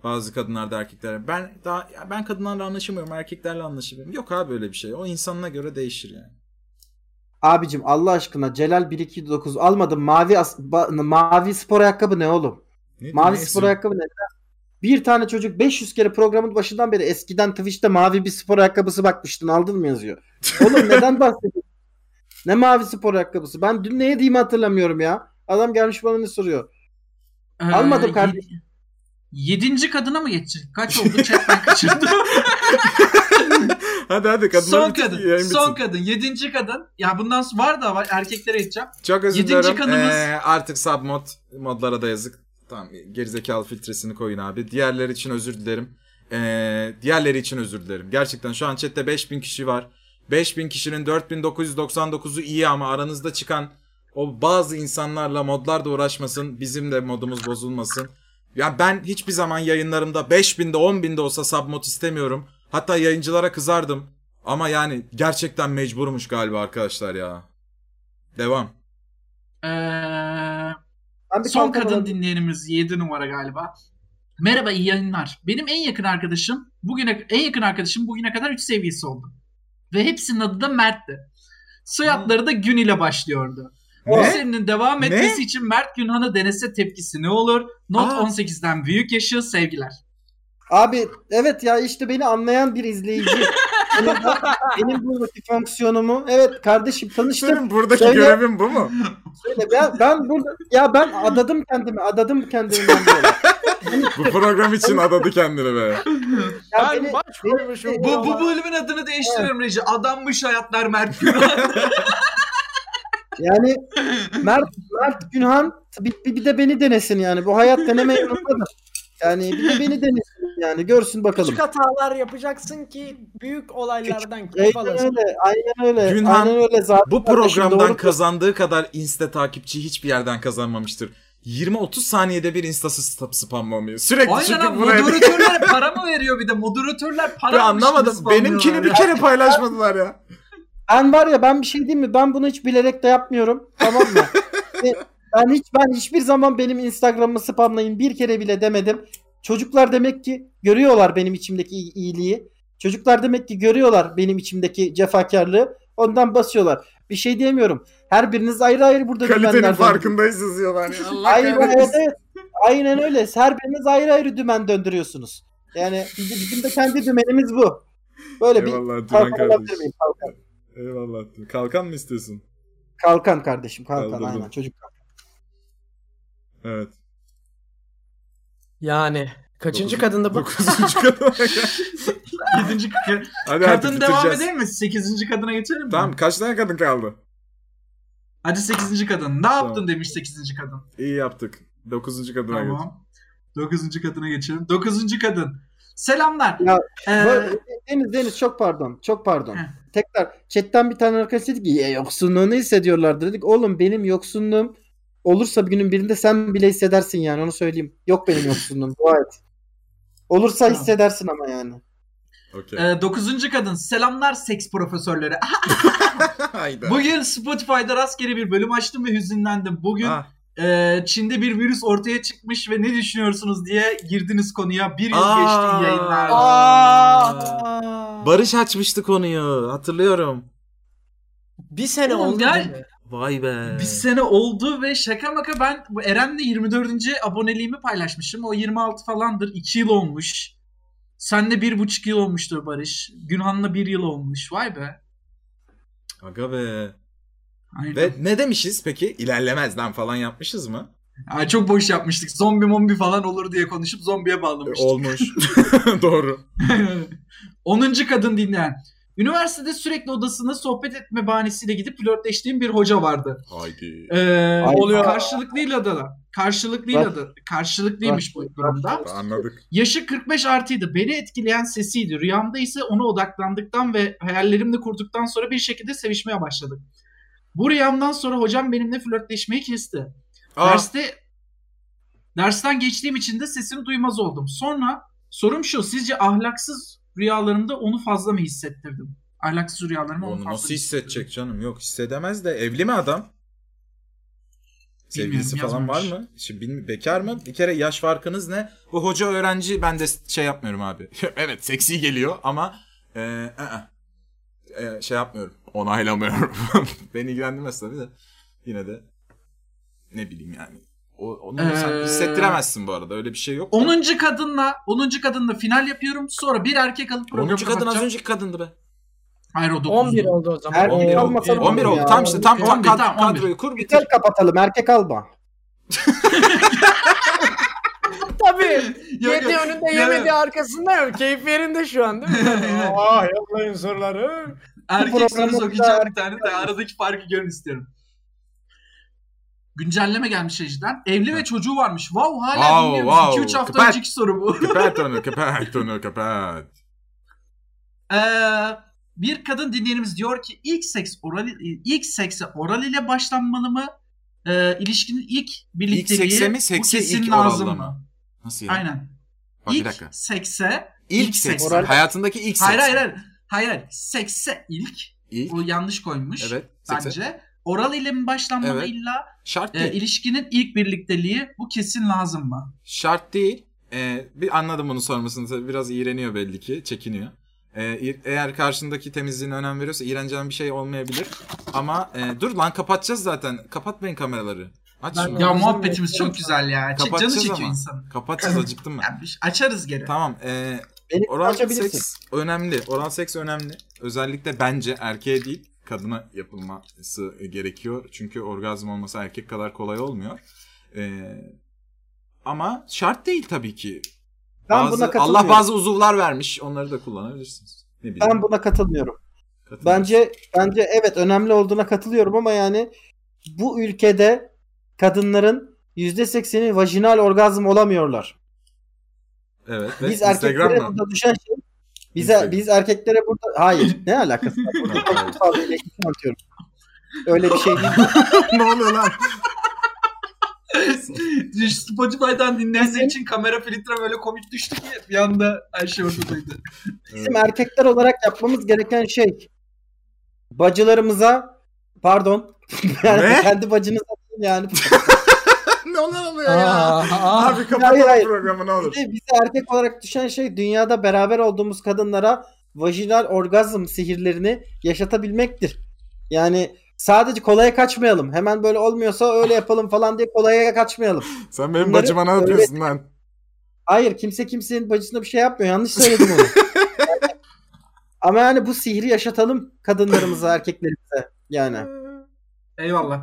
Bazı kadınlarda erkeklere. Ben daha ya ben kadınlarla anlaşamıyorum, erkeklerle anlaşamıyorum. Yok abi öyle bir şey. O insanına göre değişir yani. Abicim Allah aşkına Celal 129 almadım. Mavi as- ba- mavi spor ayakkabı ne oğlum? Ne- Mavi neyse. spor ayakkabı ne? Bir tane çocuk 500 kere programın başından beri eskiden Twitch'te mavi bir spor ayakkabısı bakmıştın aldın mı yazıyor. Oğlum neden bahsediyorsun? Ne mavi spor ayakkabısı? Ben dün ne yediğimi hatırlamıyorum ya. Adam gelmiş bana ne soruyor. Ee, Almadım ye- kardeşim. Yedinci kadına mı geçecek? Kaç oldu? Chat ben kaçırdım. Hadi hadi kadınlar son bitir, kadın. yayın Son bitsin. kadın. Yedinci kadın. Ya bundan sonra var da var, erkeklere geçeceğim. Çok özür Yedinci dilerim. kanımız- Ee, artık submod modlara da yazık. Tamam gerizekalı filtresini koyun abi. Diğerleri için özür dilerim. Ee, diğerleri için özür dilerim. Gerçekten şu an chatte 5000 kişi var. 5000 kişinin 4999'u iyi ama aranızda çıkan o bazı insanlarla modlar da uğraşmasın. Bizim de modumuz bozulmasın. Ya ben hiçbir zaman yayınlarımda 5000'de 10.000'de olsa submod istemiyorum. Hatta yayıncılara kızardım. Ama yani gerçekten mecburmuş galiba arkadaşlar ya. Devam. Eee... Ben bir Ee, Son kankam kadın aradım. dinleyenimiz 7 numara galiba. Merhaba iyi yayınlar. Benim en yakın arkadaşım bugüne en yakın arkadaşım bugüne kadar 3 seviyesi oldu. Ve hepsinin adı da Mert'ti. Soyadları da Gün ile başlıyordu. Bu serinin devam Ne? etmesi için Mert Günhan'ı denese tepkisi ne olur? Not Aa. 18'den büyük yaşı sevgiler. Abi evet ya işte beni anlayan bir izleyici. benim, bu- benim buradaki fonksiyonumu evet kardeşim tanıştım. Senin buradaki Söyle. görevin bu mu? Söyle, ya ben burada ya ben adadım kendimi adadım kendimi ben böyle. Bu program için adadı kendini be. Ya Ben beni- baş koymuşum. beni- Bu, bu bölümün adını değiştiriyorum Reji. Adammış hayatlar Mert Günhan. Yani Mert, Mert Günhan bir, bir, bir de beni denesin yani. Bu hayat deneme yanındadır. Yani bir de beni denesin yani. Görsün bakalım. Küçük hatalar yapacaksın ki büyük olaylardan keyif Aynen alasın. öyle. Aynen öyle. Günhan, aynen öyle zaten. Bu kardeşim, programdan doğru. kazandığı kadar insta takipçi hiçbir yerden kazanmamıştır. 20-30 saniyede bir instası sta- spamlamıyor. Sürekli Aynen çıkıp abi buraya moderatörler para mı veriyor bir de? Moderatörler para Ben mı anlamadım. spamlıyorlar Benimkini ya? bir kere paylaşmadılar ya. Ben var ya ben bir şey diyeyim mi? Ben bunu hiç bilerek de yapmıyorum. Tamam mı? Ve ben hiç ben hiçbir zaman benim Instagram'ımı spamlayın bir kere bile demedim. Çocuklar demek ki görüyorlar benim içimdeki iyi- iyiliği. Çocuklar demek ki görüyorlar benim içimdeki cefakarlığı. Ondan basıyorlar. Bir şey diyemiyorum. Her biriniz ayrı ayrı burada Kalitenin dümenlerden- farkındayız yazıyorlar. ya. Allah Hayır, kahretsin. evet, evet. Aynen öyle. Her biriniz ayrı ayrı dümen döndürüyorsunuz. Yani bizim bizim de kendi dümenimiz bu. Böyle bir Eyvallah Duran kalkan kardeş. alabilir miyim? Kalkan. Eyvallah. Kalkan mı istiyorsun? Kalkan kardeşim. Kalkan Kaldırdım. aynen. Çocuk kalkan. Evet. Yani kaçıncı Dokuz- kadında bu? Dokuzuncu kadına kadar. Yedinci kı- Hadi kadın artık devam bitireceğiz. edelim mi? Sekizinci kadına geçelim mi? Tamam kaç tane kadın kaldı? Hadi 8. kadın. Ne yaptın Tamam. demiş 8. kadın. İyi yaptık. Dokuzuncu kadına geç. Tamam. 9. kadına geçelim. 9. kadın. Selamlar. Ya, Ee, Bu- Deniz Deniz çok pardon. Çok pardon. Heh. Tekrar chatten bir tane arkadaş dedi ki "Ya, yoksunluğunu hissediyorlardı dedik. Oğlum benim yoksunluğum olursa bir günün birinde sen bile hissedersin yani onu söyleyeyim. Yok benim yoksunluğum. Dua et. Olursa Tamam. hissedersin ama yani. Okey. e, 9. kadın. Selamlar seks profesörleri. Ah, Hayda. Bugün Spotify'da rastgele bir bölüm açtım ve hüzünlendim. Bugün Ah. e, Çin'de bir virüs ortaya çıkmış ve ne düşünüyorsunuz diye girdiniz konuya. Bir yıl Aa. geçti yayınlarda. Aa! Barış açmıştı konuyu. Hatırlıyorum. bir sene Oğlum oldu. ya- değil mi? Vay be. Bir sene oldu ve şaka maka ben bu Eren'le 24. aboneliğimi paylaşmışım. O 26 falandır. 2 yıl olmuş. Senle 1,5 yıl olmuştur Barış. Günhan'la 1 yıl olmuş. Vay be. Aga be. Aynen. Ve ne demişiz peki? İlerlemez lan falan yapmışız mı? Aa, çok boş yapmıştık. Zombi mombi falan olur diye konuşup zombiye E, bağlamıştık. Olmuş. Doğru. 10. kadın dinleyen. Üniversitede sürekli odasına sohbet etme bahanesiyle gidip flörtleştiğim bir hoca vardı. Haydi. Ee, Oluyor. karşılıklıyla da karşılıklıyla Bak. da karşılıklıymış bu durumda. Anladık. Yaşı 45 artıydı. Beni etkileyen sesiydi. Rüyamda ise ona odaklandıktan ve hayallerimle kurduktan sonra bir şekilde sevişmeye başladık. Bu rüyamdan sonra hocam benimle flörtleşmeyi kesti. Aa, Derste dersten geçtiğim için de sesini duymaz oldum. Sonra sorum şu. Sizce ahlaksız rüyalarımda onu fazla mı hissettirdim? Ahlaksız rüyalarımı onu onu fazla nasıl mı hissedecek hissettirdim? canım? Yok hissedemez de evli mi adam? Sevgilisi falan var yazmamış. mı? Şimdi bilmi- bekar mı? Bir kere yaş farkınız ne? Bu hoca öğrenci ben de şey yapmıyorum abi. evet seksi geliyor ama e, ı-ı. E, şey yapmıyorum. Onaylamıyorum. Beni ilgilendirmez tabii de. Yine de ne bileyim yani. O, onu sen Ee, hissettiremezsin bu arada. Öyle bir şey yok. 10. kadınla 10. kadınla final yapıyorum. Sonra bir erkek alıp programı 10. kadın az kapatacağım. önceki kadındı be. Hayır o 9. 11 oldu o zaman. Her- 11 oldu. Kalmasalım 11 oldu. ya. Tam işte tam, tam 11, kad- tamam, 11. kadroyu kur bitir. Güzel kapatalım erkek alma. Tabii. Yok, Yedi yok. önünde Yok, yemedi yok. arkasında yok. Keyif yerinde şu an değil mi? Evet. Aa yapmayın soruları. Erkek soru programımızda sokacağım bir erkek tane de aradaki farkı görün istiyorum. Güncelleme gelmiş Ejden. Evli ve çocuğu varmış. Wow hala Wow, dinliyor wow. 2-3 hafta Kapat. önceki soru bu. Kapat onu kapat onu kapat. Ee, Bir kadın dinleyenimiz diyor ki ilk seks oral ilk sekse oral ile başlanmalı mı? Ee, ilişkinin ilk İlk birlikteliği sekse mi? bu Sekse kesin ilk lazım oralla mı? mı? Nasıl yani? Aynen. Bak bir ilk dakika. sekse İlk ilk seks. seks. Oral- Hayatındaki ilk seks. hayır hayır hayır. Hayır hayır. Sekse ilk. İlk. O yanlış koymuş. Evet. Sekse. Bence. Oral ile mi başlanmalı Evet. illa? Şart Ee, değil. ilişkinin ilk birlikteliği bu kesin lazım mı? Şart değil. Ee, bir anladım bunu sormasını. Tabii biraz iğreniyor belli ki. Çekiniyor. Ee, i- eğer karşındaki temizliğine önem veriyorsa iğreneceğin bir şey olmayabilir. Ama e, dur lan kapatacağız zaten. Kapatmayın kameraları. Aç Ben- şunu. Ya Lazım muhabbetimiz mı? çok güzel ya. Çek- Canı Kapatacağız çekiyor ama. insanın. Kapatacağız acıktım ben. Ya bir- açarız geri. Tamam. E, Beni oral açabilirsin. seks önemli. Oral seks önemli. Özellikle bence erkeğe değil kadına yapılması gerekiyor. Çünkü orgazm olması erkek kadar kolay olmuyor. E, ama şart değil tabii ki. Ben Bazı- buna katılmıyorum. Allah bazı uzuvlar vermiş. Onları da kullanabilirsiniz. Ne bileyim. Ben buna katılmıyorum. Katılın. Bence bence evet önemli olduğuna katılıyorum ama yani bu ülkede kadınların %80'i vajinal orgazm olamıyorlar. evet. ve Biz erkeklere Instagram'la- burada düşen şey bize Instagram. biz erkeklere burada hayır ne alakası var? Burada Evet. kutsal bir iletişim anlatıyorum. Öyle bir şey değil. ne oluyor lan? Spotify'dan dinlendiği için kamera filtre böyle komik düştü ki bir anda her şey ortadaydı. Bizim erkekler olarak yapmamız gereken şey bacılarımıza pardon yani Ne? kendi bacınıza değil yani ne oluyor ya? Abi Hayır, kapatalım hayır. programı ne olur. Bir de bize erkek olarak düşen şey dünyada beraber olduğumuz kadınlara vajinal orgazm sihirlerini yaşatabilmektir. Yani sadece kolaya kaçmayalım. Hemen böyle olmuyorsa öyle yapalım falan diye kolaya kaçmayalım. Sen benim Bunları- bacıma ne yapıyorsun lan? Hayır kimse kimsenin bacısına bir şey yapmıyor. Yanlış söyledim onu. Yani- Ama yani bu sihri yaşatalım kadınlarımıza, erkeklerimize. Yani. Eyvallah.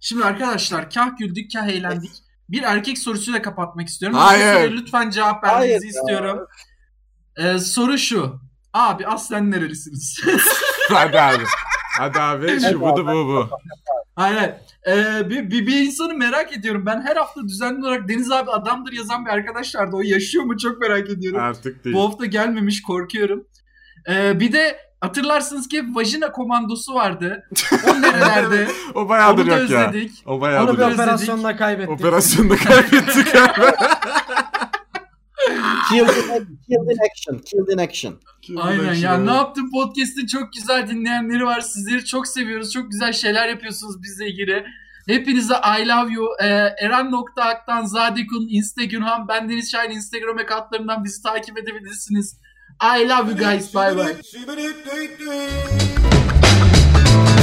Şimdi arkadaşlar kah güldük kah eğlendik. Bir erkek sorusuyla kapatmak istiyorum. Bu Hayır. soruya Lütfen cevap vermenizi Hayır ya. istiyorum. Ee, soru şu. Abi aslen nerelisiniz? Hadi abi. Hadi abi. Şu budu bu bu. hayır hayır. Ee, bir, bir, bir insanı merak ediyorum. Ben her hafta düzenli olarak Deniz abi adamdır yazan bir arkadaş vardı. O yaşıyor mu çok merak ediyorum. Artık değil. Bu hafta gelmemiş korkuyorum. Ee, bir de hatırlarsınız ki hep vajina komandosu vardı. O nerelerde? O Onu bayağıdır da yok ya. özledik. O Onu bayağıdır bir yok. Özledik. operasyonla kaybettik. Operasyonda kaybettik abi. Killed in, killed in action. Killed in action. Aynen ya ne yaptın podcast'in çok güzel dinleyenleri var. Sizleri çok seviyoruz. Çok güzel şeyler yapıyorsunuz bizle ilgili. Hepinize I love you. Ee, Eren.Ak'tan Zadikun, Insta Günhan, ben Deniz Şahin Instagram accountlarından bizi takip edebilirsiniz. I love you guys. Bye bye. bye.